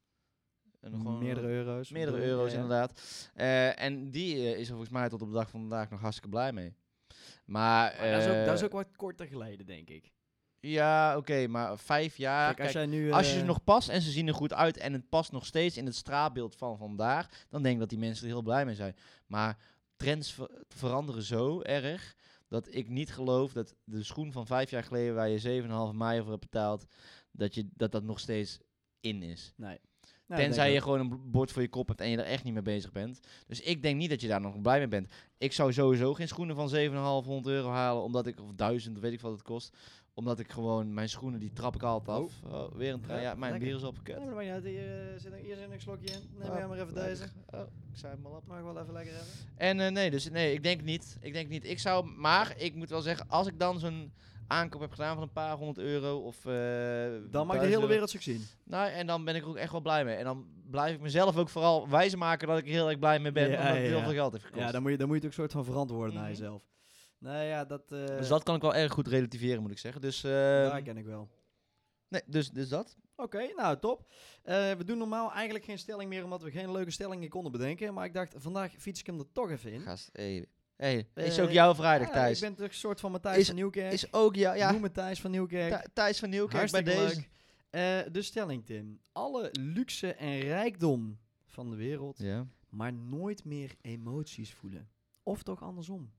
S2: Een, gewoon- eh,
S1: meerdere euro's.
S2: meerdere
S1: bedoel ik,
S2: euro's
S1: ja, ja.
S2: inderdaad. Eh, en die eh, is er volgens mij tot op de dag van vandaag nog hartstikke blij mee. Maar,
S1: Maar dat, is ook,
S2: eh,
S1: dat is ook wat korter geleden, denk ik.
S2: ja, oké, maar vijf jaar.
S1: Kijk, als, jij nu,
S2: Als je
S1: eh,
S2: ze nog past en ze zien er goed uit en het past nog steeds in het straatbeeld van vandaag, dan denk ik dat die mensen er heel blij mee zijn. Maar trends ver- veranderen zo erg dat ik niet geloof dat de schoen van vijf jaar geleden waar je 7,5 mei voor hebt betaald, dat, je, dat dat nog steeds in is.
S1: Nee. nou,
S2: Tenzij je gewoon een b- bord voor je kop hebt en je er echt niet mee bezig bent. Dus ik denk niet dat je daar nog blij mee bent. Ik zou sowieso geen schoenen van 7,500 euro halen, omdat ik, of 1000, weet ik wat het kost. Omdat ik gewoon, mijn schoenen die trap ik altijd af. Oh, weer een tra-
S1: Ja,
S2: ja, mijn
S1: lekker.
S2: bier is opgekut.
S1: Nee, maar dat maakt niet uit. Hier, eh, zit een- hier zit een slokje in. Neem
S2: Ah,
S1: jij maar even
S2: lekker.
S1: deze.
S2: Oh, ik zei hem al op.
S1: Mag ik wel even lekker hebben?
S2: En eh, nee, dus nee, ik denk niet. Ik denk niet. Ik zou, maar ik moet wel zeggen, als ik dan zo'n aankoop heb gedaan van een paar honderd euro of... eh,
S1: Dan mag de
S2: 1000
S1: hele
S2: euro,
S1: wereld zich zien.
S2: Nou, en dan ben ik er ook echt wel blij mee. En dan blijf ik mezelf ook vooral wijs maken dat ik er heel erg blij mee ben,
S1: Ja,
S2: omdat het heel
S1: ja.
S2: veel geld heeft gekost.
S1: Ja, dan moet je, dan moet je het ook soort van verantwoorden naar
S2: Mhm.
S1: jezelf. Nee, ja, dat, eh
S2: Dus dat kan ik wel erg goed relativeren, moet ik zeggen. Dus, eh,
S1: daar ken ik wel.
S2: nee, dus, dus dat.
S1: Oké, nou top. Eh, we doen normaal eigenlijk geen stelling meer, omdat we geen leuke stellingen konden bedenken. Maar ik dacht, vandaag fiets ik hem er toch even in.
S2: Gast, hey. Hey, is
S1: Eh,
S2: ook jouw
S1: Ja,
S2: vrijdag, Thijs.
S1: Ik ben toch een soort van Matthijs
S2: Is-
S1: van Nieuwkerk.
S2: Is ook jouw...
S1: ja.
S2: Ja,
S1: Noem me Thijs van Nieuwkerk.
S2: Thij- Thijs van Nieuwkerk bij
S1: Hartstikke
S2: deze.
S1: leuk. Eh, de stelling, Tim. Alle luxe en rijkdom van de wereld,
S2: Ja.
S1: maar nooit meer emoties voelen. Of toch andersom.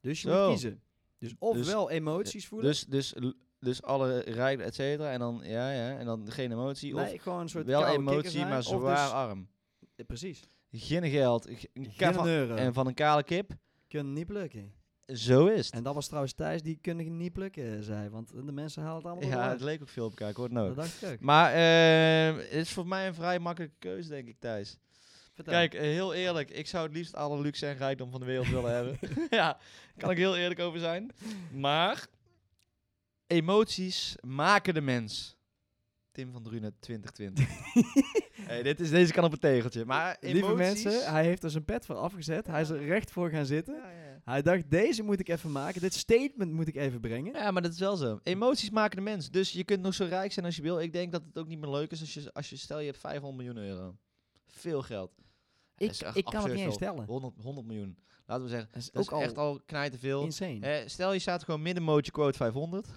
S1: Dus je
S2: Zo.
S1: moet kiezen. Dus ofwel emoties voelen,
S2: Dus, dus, dus alle rijk, et cetera. En dan, ja, ja. En dan geen emotie.
S1: nee,
S2: of
S1: gewoon een soort
S2: wel
S1: koude
S2: emotie,
S1: kikker zijn,
S2: maar
S1: of
S2: zwaar
S1: dus-
S2: arm.
S1: eh, precies.
S2: Geen geld. ge- een ka-
S1: Geen
S2: van-
S1: euro.
S2: en van een kale kip.
S1: Kunnen niet plukken.
S2: Zo is het.
S1: En dat was trouwens Thijs, die kunnen niet plukken, zei. Want de mensen halen het allemaal
S2: Ja,
S1: door.
S2: het leek ook veel op elkaar. Ik hoor het nou.
S1: Dat
S2: ook.
S1: dacht ik ook.
S2: Maar eh, het is voor mij een vrij makkelijke keuze, denk ik, Thijs.
S1: Vertel.
S2: Kijk, eh, heel eerlijk, ik zou het liefst alle luxe en rijkdom van de wereld willen hebben. ja, kan ik heel eerlijk over zijn. Maar emoties maken de mens. Tim van Drunen 2020. hey, dit is, deze kan op een tegeltje. Maar emoties,
S1: Lieve mensen, hij heeft er zijn pet voor afgezet. Hij is er recht voor gaan zitten.
S2: Ja, ja.
S1: Hij dacht, deze moet ik even maken. Dit statement moet ik even brengen.
S2: Ja, maar dat is wel zo. Emoties maken de mens. Dus je kunt nog zo rijk zijn als je wil. Ik denk dat het ook niet meer leuk is als je, als je stel je hebt 500 miljoen euro. Veel geld. Dat
S1: Ik,
S2: is echt
S1: ik kan het
S2: absurd
S1: niet eens
S2: veel.
S1: stellen.
S2: 100, 100 miljoen. Laten we zeggen,
S1: Dat is
S2: dat
S1: ook
S2: is
S1: al
S2: echt al knijtenveel.
S1: insane.
S2: Eh, stel je staat gewoon middenmootje quote 500.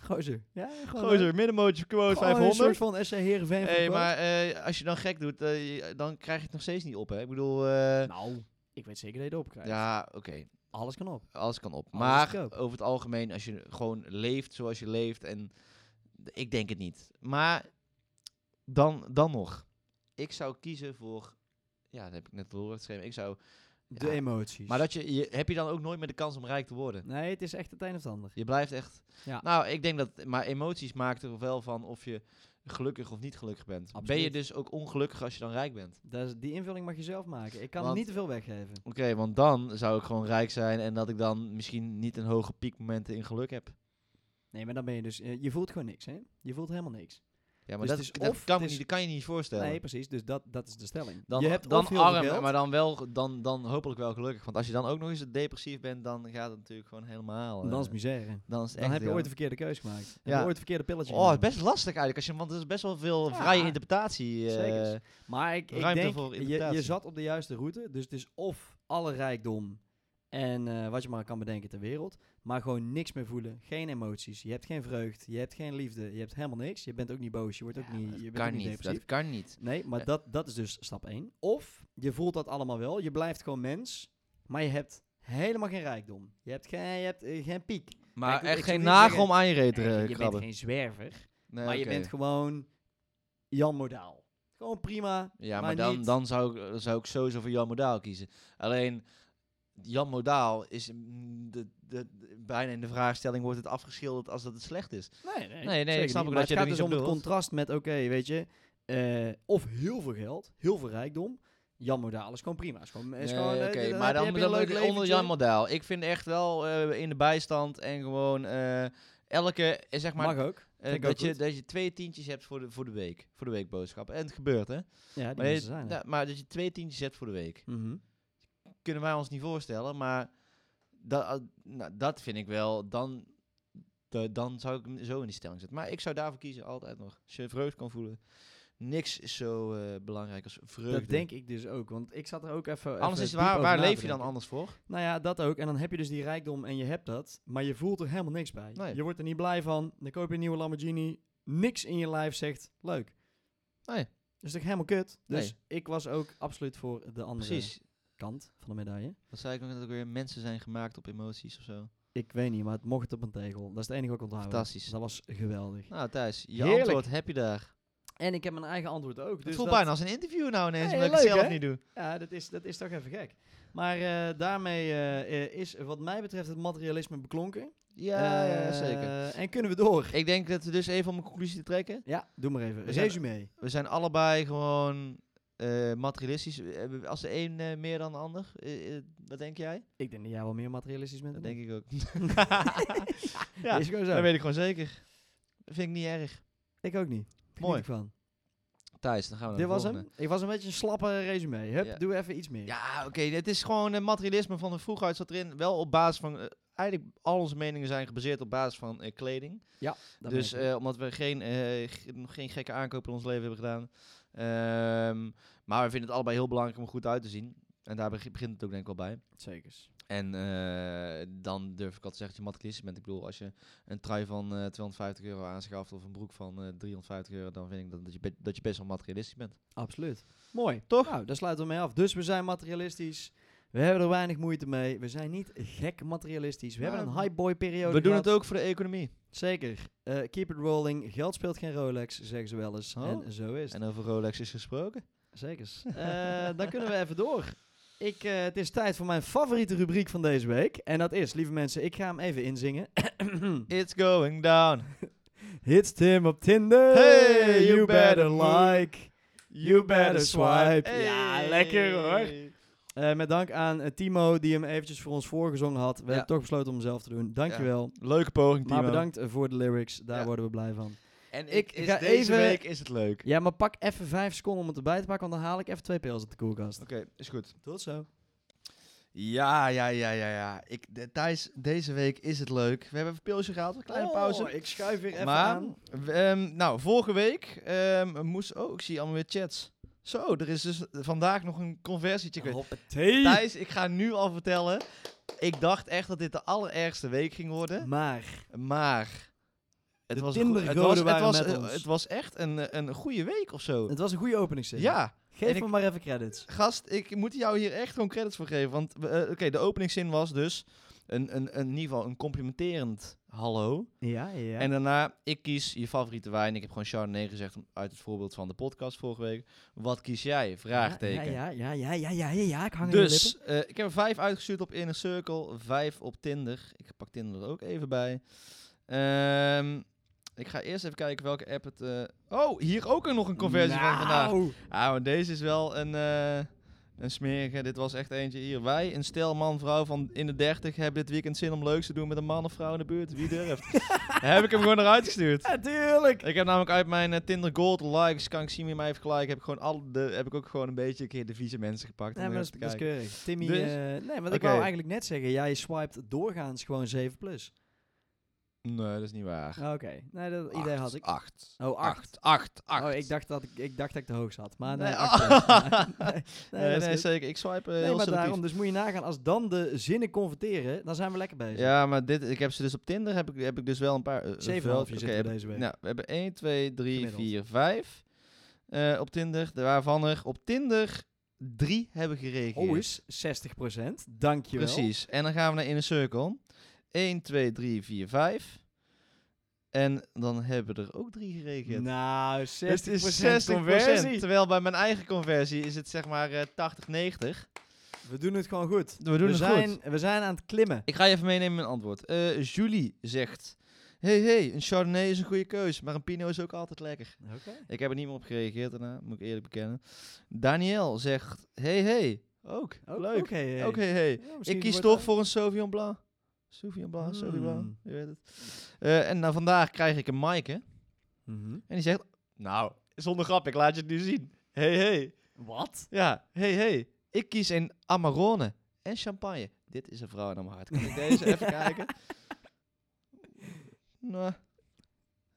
S1: Gozer. Ja, gewoon
S2: Gozer, middenmootje
S1: eh,
S2: quote
S1: gewoon een soort
S2: 500.
S1: van SC Heerenveen van
S2: Hey,
S1: de
S2: maar eh, als je dan gek doet, eh, je- dan krijg je het nog steeds niet op. Hè? Ik bedoel, eh,
S1: coach. Nou, ik weet zeker dat je Nou, het opkrijgt.
S2: ja, oké,
S1: Alles kan op.
S2: alles kan op.
S1: Alles
S2: maar
S1: kan op.
S2: over het algemeen, als je gewoon leeft zoals je leeft, en ik denk het niet. Maar dan, dan nog, ik zou kiezen voor, ja, dat heb ik net doorgeschreven, ik zou,
S1: De
S2: Ja.
S1: emoties.
S2: maar dat je, je, heb je dan ook nooit meer de kans om rijk te worden?
S1: Nee, het is echt het een of het ander.
S2: Je blijft echt.
S1: Ja.
S2: Nou, ik denk dat. Maar emoties maakt er wel van of je gelukkig of niet gelukkig bent.
S1: Absoluut.
S2: Ben je dus ook ongelukkig als je dan rijk bent?
S1: Dat is- die invulling mag je zelf maken. Ik kan
S2: Want-
S1: niet te veel weggeven.
S2: Oké, want dan zou ik gewoon rijk zijn en dat ik dan misschien niet een hoge piekmomenten in geluk heb.
S1: Nee, maar dan ben je dus... eh, je voelt gewoon niks, hè? Je voelt helemaal niks.
S2: Ja, maar
S1: Dus
S2: dat,
S1: het is
S2: dat
S1: of
S2: kan,
S1: het
S2: me
S1: is-
S2: niet, dat kan je niet voorstellen.
S1: Nee, precies. Dus dat, dat is de stelling.
S2: dan,
S1: je hebt
S2: dan
S1: of heel veel
S2: arm,
S1: geld,
S2: maar dan wel, dan, dan hopelijk wel gelukkig. Want als je dan ook nog eens depressief bent, dan gaat het natuurlijk gewoon helemaal.
S1: dan is
S2: eh,
S1: misère.
S2: dan is het
S1: Dan heb
S2: echt
S1: je
S2: heel-
S1: ooit de verkeerde keuze gemaakt. Heb je
S2: Ja.
S1: ooit het verkeerde pilletje
S2: Oh, het is
S1: genomen.
S2: best lastig eigenlijk, als je, want er is best wel veel
S1: Ja,
S2: vrije interpretatie. eh
S1: zeker. Maar ik, ik
S2: Ruimte
S1: denk,
S2: voor
S1: je, je
S2: interpretatie.
S1: zat op de juiste route. Dus het is of alle rijkdom en eh, wat je maar kan bedenken ter wereld. Maar gewoon niks meer voelen. Geen emoties. Je hebt geen vreugd. Je hebt geen liefde. Je hebt helemaal niks. Je bent ook niet boos. Je, wordt ook
S2: Ja,
S1: niet,
S2: dat
S1: je bent ook
S2: kan
S1: niet
S2: niet,
S1: depressief.
S2: dat kan niet.
S1: Nee, maar
S2: Eh.
S1: dat, dat is dus stap 1. Of je voelt dat allemaal wel. Je blijft gewoon mens. Maar je hebt helemaal geen rijkdom. Je hebt geen, je hebt, eh, geen piek.
S2: Maar
S1: Kijk, ik-
S2: echt
S1: ik
S2: geen
S1: zou niet
S2: nagel
S1: zeggen-
S2: om aan je reet te
S1: Nee,
S2: eh,
S1: je bent
S2: krabben.
S1: geen zwerver. maar
S2: Nee, Eh, oké.
S1: je bent gewoon Jan Modaal. Gewoon prima.
S2: Ja, maar
S1: maar
S2: dan,
S1: niet-
S2: dan zou, ik, zou ik sowieso voor Jan Modaal kiezen. Alleen, Jan Modaal is mm, de, de, de- bijna in de vraagstelling wordt het afgeschilderd als dat het slecht is.
S1: Nee, nee,
S2: nee, ik
S1: zeker
S2: snap
S1: niet.
S2: ook
S1: Maar
S2: dat je
S1: het
S2: er
S1: gaat
S2: niet
S1: dus
S2: op
S1: om het
S2: doelt.
S1: contrast met, oké, weet je, eh, of heel veel geld, heel veel rijkdom. Jan Modaal is gewoon prima. Is gewoon, is
S2: Nee,
S1: gewoon, eh,
S2: oké,
S1: d-
S2: maar
S1: heb
S2: dan,
S1: je- heb je
S2: dan
S1: een
S2: ook
S1: leuk
S2: onder Jan
S1: leventje.
S2: Modaal. Ik vind echt wel eh, in de bijstand en gewoon eh, elke, eh, zeg maar,
S1: Mag ook.
S2: eh,
S1: vind ik ook
S2: dat, je,
S1: goed.
S2: dat je twee tientjes hebt voor de, voor de week. Voor de weekboodschap. En het gebeurt, hè?
S1: Ja, die
S2: Maar, je-
S1: mensen zijn er.
S2: ja, maar dat je twee tientjes hebt voor de week.
S1: Mhm.
S2: kunnen wij ons niet voorstellen, maar dat, ah, nou, dat vind ik wel, dan, da- dan zou ik hem zo in die stelling zetten. Maar ik zou daarvoor kiezen, altijd nog. Als je vreugde kan voelen, niks is zo eh, belangrijk als vreugde.
S1: Dat denk ik dus ook, want ik zat er ook even...
S2: Anders
S1: even
S2: is,
S1: diep
S2: waar,
S1: over
S2: waar
S1: na
S2: leef
S1: te
S2: je dan
S1: denken.
S2: anders voor?
S1: Nou ja, dat ook. En dan heb je dus die rijkdom en je hebt dat, maar je voelt er helemaal niks bij.
S2: Nee.
S1: Je wordt er niet blij van, dan koop je een nieuwe Lamborghini, niks in je lijf zegt, leuk.
S2: Nee.
S1: Dat is toch helemaal kut? Dus
S2: Nee.
S1: ik was ook absoluut voor de andere
S2: Precies.
S1: kant van de medaille.
S2: Wat zei ik nog net ook weer? Mensen zijn gemaakt op emoties of zo.
S1: Ik weet niet, maar het mocht op een tegel. Dat is het enige wat ik onthouden.
S2: Fantastisch.
S1: Dat was geweldig.
S2: Nou, Thijs, je
S1: Heerlijk.
S2: antwoord heb je daar.
S1: En ik heb mijn eigen antwoord ook.
S2: het
S1: dus
S2: voelt
S1: dat-
S2: bijna als een interview nou ineens,
S1: Hey,
S2: omdat ik het
S1: leuk,
S2: zelf
S1: hè?
S2: niet doe.
S1: Ja, dat is, dat is toch even gek. Maar eh, daarmee eh, eh, is wat mij betreft het materialisme beklonken.
S2: Ja, ja,
S1: Eh,
S2: zeker.
S1: En kunnen we door.
S2: Ik denk dat we dus even om een conclusie te trekken.
S1: Ja, doe maar even.
S2: We zijn-
S1: Resume.
S2: We zijn allebei gewoon eh, materialistisch. Eh, Als de een eh, meer dan de ander, eh, eh, wat denk jij?
S1: Ik denk dat jij wel meer materialistisch bent.
S2: Dat
S1: dan
S2: denk ik ook.
S1: ik.
S2: ja,
S1: is gewoon zo.
S2: dat weet ik gewoon zeker. Dat vind ik niet erg.
S1: Ik ook niet. Geniet
S2: Mooi.
S1: ik van.
S2: Thijs, dan gaan we
S1: Dit
S2: naar de
S1: was
S2: volgende.
S1: hem. Ik was een beetje een slappe resume. Hup,
S2: Ja.
S1: doe even iets meer.
S2: Ja, oké. Het is gewoon eh, materialisme van de vroegheid zat erin. Wel op basis van... eh, eigenlijk al onze meningen zijn gebaseerd op basis van eh, kleding.
S1: Dat
S2: dus
S1: merk ik.
S2: eh, omdat we geen, eh, g- nog geen gekke aankopen in ons leven hebben gedaan. Ehm, maar we vinden het allebei heel belangrijk om er goed uit te zien. En daar beg- begint het ook denk ik wel bij.
S1: Zekers.
S2: En eh, dan durf ik al te zeggen dat je materialistisch bent. Ik bedoel, als je een trui van eh, 250 euro aanschaft of een broek van eh, 350 euro, dan vind ik dat, dat, je, be- dat je best wel materialistisch bent.
S1: Absoluut. Mooi.
S2: Toch?
S1: Nou, daar sluiten we mee af. Dus we zijn materialistisch. We hebben er weinig moeite mee. We zijn niet gek materialistisch. We
S2: Nou,
S1: hebben een
S2: we-
S1: highboy periode
S2: we doen
S1: gehad.
S2: het ook voor de economie.
S1: Zeker. Eh, keep it rolling. Geld speelt geen Rolex, zeggen ze wel eens.
S2: Oh.
S1: En zo is het.
S2: En over Rolex is gesproken.
S1: Zeker. Eh, dan kunnen we even door. Ik, eh, het is tijd voor mijn favoriete rubriek van deze week. En dat is, lieve mensen, ik ga hem even inzingen. Hm.
S2: It's going down.
S1: Hits Tim op Tinder.
S2: Hey, you better
S1: like. You better swipe.
S2: Hey.
S1: Ja, lekker hoor. Eh, met dank aan eh, Timo, die hem eventjes voor ons voorgezongen had. We
S2: Ja.
S1: hebben toch besloten om hem zelf te doen. Dankjewel.
S2: Leuke poging, Timo.
S1: Maar bedankt eh, voor de lyrics. Daar
S2: Ja.
S1: worden we blij van.
S2: En
S1: Ik
S2: ik is
S1: ga
S2: deze
S1: even-
S2: week is het leuk.
S1: Ja, maar pak even vijf seconden om het erbij te pakken, want dan haal ik even twee pils uit de koelkast.
S2: Oké, is goed.
S1: Oh, Tot zo.
S2: Ja, ja, ja, ja, ja. Ik, de, Thijs, deze week is het leuk. We hebben even een pilsje gehaald, een kleine pauze.
S1: Oh, Ik schuif weer even
S2: Maar,
S1: aan.
S2: w- ehm, nou, vorige week ehm, moest... Oh, ik zie allemaal weer chats. Zo, er is dus vandaag nog een conversietje. geweest.
S1: Hoppatee.
S2: Thijs, ik ga nu al vertellen. Ik dacht echt dat dit de allerergste week ging worden.
S1: Maar,
S2: Maar... Het
S1: De
S2: was, een goe- het, was,
S1: Tindergoden
S2: het,
S1: waren
S2: was,
S1: met
S2: eh,
S1: ons.
S2: het was echt een, eh, een goede week of zo.
S1: het was een goede openingszin.
S2: Ja,
S1: Geef
S2: en
S1: me
S2: ik-
S1: maar even credits.
S2: gast, ik moet jou hier echt gewoon credits voor geven. Want eh, oké, de openingszin was dus een, een, een, in ieder geval een complimenterend hallo.
S1: Ja, ja.
S2: En daarna, ik kies je favoriete wijn. Ik heb gewoon Chardonnay gezegd om- uit het voorbeeld van de podcast vorige week. Wat kies jij? Vraagteken.
S1: Ja, ja, ja, ja, ja, ja, ja, ja, ik hang in de
S2: Dus eh, ik heb er vijf uitgestuurd op Inner Circle, vijf op Tinder. Ik pak Tinder er ook even bij. Ehm, ik ga eerst even kijken welke app het... eh, Oh, hier ook nog een
S1: lippen.
S2: conversie van vandaag.
S1: Nou.
S2: Ah, maar deze is wel een, eh, een smerige. Dit was echt eentje hier. Wij, een stel man-vrouw van in de 30, hebben dit weekend zin om leuks te doen met een man of vrouw in de buurt. Wie durft? heb ik hem gewoon eruit gestuurd.
S1: Ja, tuurlijk.
S2: Ik heb namelijk uit mijn eh, Tinder Gold likes, kan ik zien wie mij heeft gelijk. Heb ik, gewoon al de, heb ik ook gewoon een beetje een keer de vieze mensen gepakt. om
S1: Nee, maar dat
S2: even
S1: is,
S2: te
S1: dat is
S2: kijken.
S1: keurig. Timmy,
S2: Dus-
S1: eh, nee, maar ik
S2: Oké.
S1: wou eigenlijk net zeggen, jij swiped doorgaans gewoon 7 plus.
S2: Nee, dat is niet waar.
S1: Oké, nee, dat idee had ik.
S2: Acht.
S1: Oh, 8.
S2: Acht. Acht. acht.
S1: Oh, ik dacht, dat ik, ik dacht dat ik de hoogste had, maar nee.
S2: Nee,
S1: acht,
S2: ah.
S1: ja. nee, nee,
S2: Nee,
S1: dat
S2: nee,
S1: is goed.
S2: zeker. Ik swipe eh,
S1: Nee,
S2: heel
S1: maar
S2: selectief.
S1: daarom, dus moet je nagaan, als dan de zinnen converteren, dan zijn we lekker bezig.
S2: Ja, maar dit, ik heb ze dus op Tinder, heb ik, heb ik dus wel een paar... eh,
S1: Zeven
S2: wel-
S1: halfjes
S2: oké,
S1: zitten
S2: heb
S1: we deze week.
S2: Nou, we hebben 1, 2, 3,
S1: Gemiddeld.
S2: 4, 5 eh, op Tinder. Waarvan er op Tinder 3 hebben gereageerd.
S1: Oh, is 60%. Dankjewel.
S2: Precies. En dan gaan we naar in een cirkel. 1, 2, 3, 4, 5. En dan hebben er ook 3 gereageerd.
S1: Nou, 60%,
S2: Dus het is 60%.
S1: conversie.
S2: Terwijl bij mijn eigen conversie is het zeg maar eh, 80, 90.
S1: We doen het gewoon goed.
S2: We doen het
S1: zijn,
S2: goed.
S1: We zijn aan het klimmen.
S2: Ik ga je even meenemen in mijn antwoord. Eh, Julie zegt... Hey, hey, een Chardonnay is een goede keus, maar een Pinot is ook altijd lekker.
S1: Oké.
S2: Ik heb er niet meer op gereageerd daarna, moet ik eerlijk bekennen. Daniel zegt, hey hey, ook,
S1: Ook-
S2: leuk.
S1: Oké. hey.
S2: Ook hey hey.
S1: Ja, misschien
S2: Ik kies
S1: wordt
S2: toch voor een Sauvignon Blanc. Sauvignon Blanc, Sauvignon Blanc,
S1: Hmm.
S2: je weet het. Eh, en nou vandaag krijg ik een Maaike en
S1: Mhm.
S2: die zegt, nou, zonder grap, ik laat je het nu zien. Hey hey,
S1: Wat?
S2: ja, hey hey. Ik kies een Amarone en champagne. Dit is een vrouw aan mijn hart. Kan ik deze even kijken? Nou,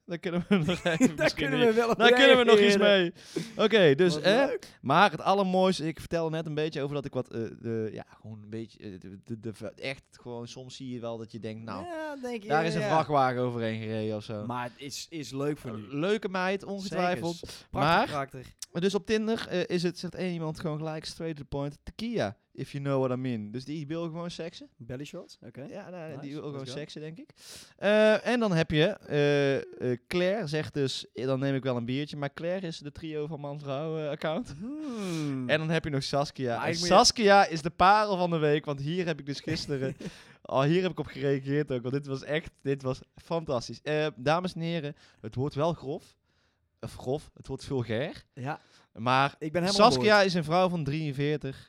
S2: daar kunnen we nog even
S1: Daar
S2: misschien
S1: kunnen
S2: niet-
S1: we wel op
S2: daar kunnen we nog iets
S1: reageren.
S2: mee. Oké, dus
S1: Wat
S2: hè,
S1: leuk.
S2: maar het allermooiste, ik vertelde net een beetje over dat ik wat, eh, de, ja, gewoon een beetje, eh, de, de, de- echt gewoon, soms zie je wel dat je denkt, nou,
S1: Ja, denk je,
S2: daar is een
S1: ja.
S2: vrachtwagen overheen gereden of zo.
S1: Maar het is, is leuk voor nu.
S2: Leuke meid, ongetwijfeld.
S1: Zekers. Prachtig
S2: Maar-
S1: karakter.
S2: Maar Dus op Tinder eh, is het, zegt één iemand gewoon gelijk, straight to the point, tequila If you know what I mean. Dus die wil gewoon seksen.
S1: Belly shots, oké.
S2: Ja, nou,
S1: Nice,
S2: die wil
S1: let's
S2: gewoon
S1: go.
S2: seksen, denk ik. Eh, en dan heb je eh, eh, Claire, zegt dus, eh, dan neem ik wel een biertje. Maar Claire is de trio van man-vrouw eh, account.
S1: Hmm.
S2: En dan heb je nog Saskia.
S1: Maar
S2: En
S1: ik moet je-
S2: Saskia is de parel van de week, want hier heb ik dus gisteren... al hier heb ik op gereageerd ook, want dit was echt... Dit was fantastisch. Eh, dames en heren, het wordt wel grof. Of grof, het wordt vulgair.
S1: ja,
S2: Maar
S1: ik ben helemaal
S2: Saskia is een vrouw van 43.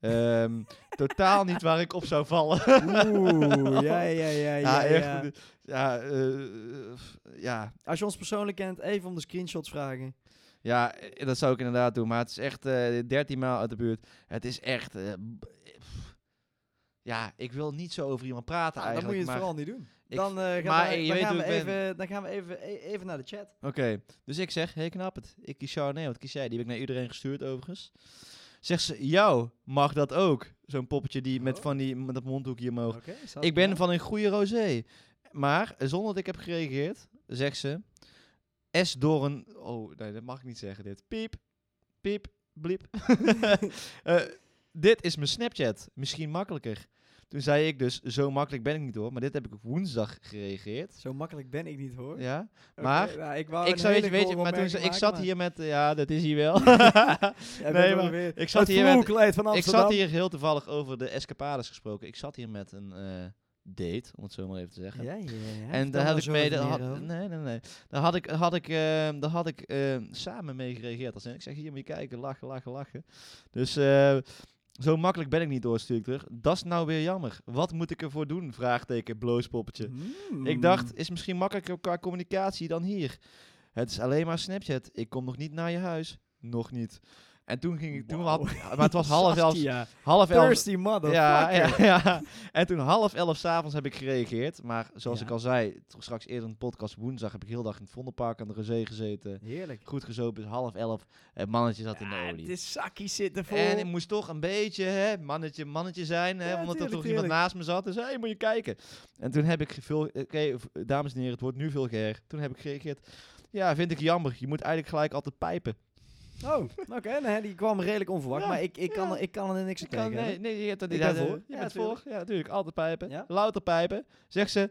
S2: Ehm, totaal niet waar ik op zou vallen.
S1: aan boord. Oeh, ja, ja, ja, ja. ja.
S2: Ja, echt. Ja, eh, f- ja.
S1: Als je ons persoonlijk kent, even om de screenshots vragen.
S2: ja, eh, dat zou ik inderdaad doen. Maar het is echt eh 13 maal uit de buurt. Het is echt... eh, b- pff. ja, ik wil niet zo over iemand praten
S1: Nou, dan moet je
S2: eigenlijk.
S1: het
S2: maar,
S1: vooral niet doen.
S2: ik-
S1: Dan, eh, gaan
S2: maar,
S1: wij-
S2: eh, je
S1: dan
S2: weet
S1: gaan
S2: hoe
S1: we
S2: ik ben.
S1: even- dan gaan we even, e- even naar de chat.
S2: Oké, dus ik zeg, hey knap het. Ik kies jou. Nee, wat kies jij? Die heb ik naar iedereen gestuurd overigens. Zegt ze, jou mag dat ook. Zo'n poppetje die met
S1: Oh.
S2: van die, met dat mondhoekje omhoog.
S1: Oké, Saskia.
S2: Ik ben van een goede rosé. Maar eh, zonder dat ik heb gereageerd, zegt ze... S door een... Oh, nee, dat mag ik niet zeggen dit. Piep, piep, bliep. Eh, dit is mijn Snapchat. Misschien makkelijker. Toen zei ik dus, zo makkelijk ben ik niet hoor. Maar dit heb ik op woensdag gereageerd.
S1: Zo makkelijk ben ik niet hoor.
S2: Ja,
S1: Oké,
S2: maar
S1: nou, ik, wou
S2: ik
S1: een
S2: zou
S1: hele
S2: je weten,
S1: gore
S2: maar toen ze-
S1: opmerking
S2: ik zat
S1: maken,
S2: hier met, eh, ja, dat is hier wel.
S1: maar- Jij
S2: nee,
S1: bent wel
S2: maar
S1: weer-
S2: ik zat
S1: het
S2: hier met-
S1: vloerkleed van
S2: ik
S1: Amsterdam.
S2: zat hier heel toevallig over de escapades gesproken. Ik zat hier met een eh, date, om het zo maar even te zeggen.
S1: Ja, ja, ja.
S2: En
S1: Vertel
S2: daar
S1: daar
S2: had ik
S1: zo
S2: mee.
S1: even
S2: daar
S1: meer
S2: had-
S1: over.
S2: nee, nee, nee. Daar had ik, had ik, ehm, daar had ik ehm, samen mee gereageerd. Als in, ik zeg: hier moet je kijken, lachen, lachen, lachen. Dus eh, zo makkelijk ben ik niet door, stuur ik terug. Dat is nou weer jammer. Wat moet ik ervoor doen? Vraagteken, bloospoppetje.
S1: Hmm.
S2: Ik dacht: is misschien makkelijker qua communicatie dan hier. Het is alleen maar Snapchat. Ik kom nog niet naar je huis. Nog niet. En toen ging ik. Toen
S1: Wauw.
S2: had, maar het was half elf.
S1: Saskia,
S2: Half elf.
S1: Thirsty mother.
S2: Ja, ja, ja. En toen half elf s'avonds heb ik gereageerd. Maar zoals
S1: Ja.
S2: ik al zei, t- straks eerder in de podcast woensdag heb ik heel dag in het Vondelpark aan de Rezee gezeten.
S1: Heerlijk.
S2: Goed gezopen, is half elf. Het mannetje zat in de
S1: Ah,
S2: olie.
S1: de zakjes zitten vol.
S2: En ik moest toch een beetje hè, mannetje, mannetje zijn, hè,
S1: Ja,
S2: omdat er
S1: tuurlijk,
S2: toch iemand
S1: tuurlijk.
S2: naast me zat. Dus hé, moet je kijken. En toen heb ik veel, eh, oké, v- dames en heren, het wordt nu veel geher. Toen heb ik gereageerd. Ja, vind ik jammer. Je moet eigenlijk gelijk altijd pijpen.
S1: Oh, oké. nou, die kwam redelijk onverwacht.
S2: Ja,
S1: maar ik, ik, kan,
S2: ja.
S1: er- ik kan er niks aan
S2: Ik kan,
S1: tegen
S2: nee,
S1: hebben.
S2: nee, je hebt dat
S1: Ik
S2: niet
S1: ben
S2: aan de-
S1: voor.
S2: Je
S1: Ja,
S2: bent
S1: tuurlijk.
S2: voor. Ja, natuurlijk. Altijd pijpen.
S1: Ja.
S2: Louter pijpen. Zegt ze,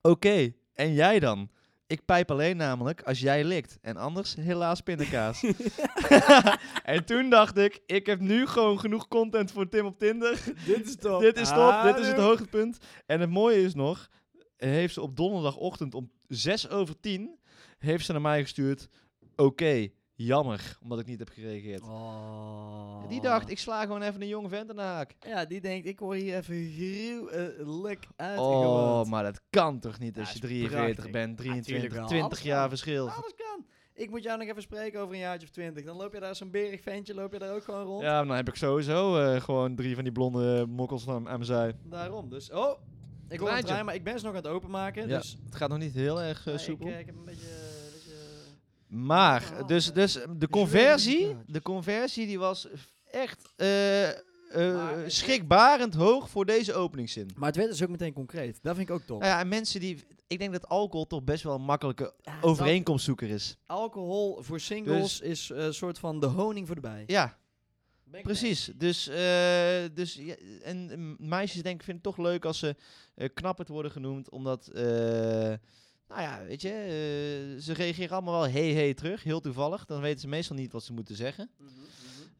S2: oké, en jij dan? Ik pijp alleen namelijk als jij likt. En anders helaas pindakaas. en toen dacht ik, ik heb nu gewoon genoeg content voor Tim op Tinder.
S1: Dit is top.
S2: dit is top,
S1: Ah,
S2: dit is het
S1: leuk.
S2: hoogtepunt. En het mooie is nog, heeft ze op donderdagochtend om 6 over 10, heeft ze naar mij gestuurd, oké, jammer, omdat ik niet heb gereageerd.
S1: Oh.
S2: Die dacht, ik sla gewoon even een jonge vent in de haak.
S1: Ja, die denkt, ik word hier even gruwelijk
S2: Oh,
S1: uitgegooid.
S2: maar dat kan toch niet
S1: Ja,
S2: als je
S1: is
S2: 43
S1: prachtig.
S2: bent,
S1: tuurlijk
S2: 23,
S1: wel.
S2: 20
S1: Alles
S2: jaar
S1: kan.
S2: verschil.
S1: Alles kan. Ik moet jou nog even spreken over een jaartje of twintig. Dan loop je daar als een berig ventje, loop je daar ook gewoon rond.
S2: Ja, maar dan heb ik sowieso eh, gewoon drie van die blonde mokkels aan, aan mijn zij.
S1: Daarom, dus... Oh, ik hoor een
S2: Treintje.
S1: trein, maar ik ben ze nog aan het openmaken.
S2: Ja,
S1: Dus
S2: Het gaat nog niet heel erg eh,
S1: maar ik,
S2: soepel.
S1: eh, ik heb een beetje... een beetje-
S2: maar, dus, dus de conversie, de conversie die was echt eh, eh,
S1: Maar het-
S2: schrikbarend hoog voor deze openingszin.
S1: Maar het werd dus ook meteen concreet. Dat vind ik ook top.
S2: Nou ja, en mensen die... Ik denk dat alcohol toch best wel een makkelijke
S1: Ja, dat-
S2: overeenkomstzoeker is.
S1: Alcohol voor singles is eh, een soort van de honing voor de bij.
S2: Dus- Ja,
S1: Ben ik mee.
S2: Precies. Dus, eh, dus ja, en eh, meisjes denk ik vinden het toch leuk als ze eh knapperd worden genoemd, omdat, eh, nou ja, weet je, eh, ze reageren allemaal wel hey hey terug, heel toevallig. Dan weten ze meestal niet wat ze moeten zeggen.
S1: Mhm, mhm.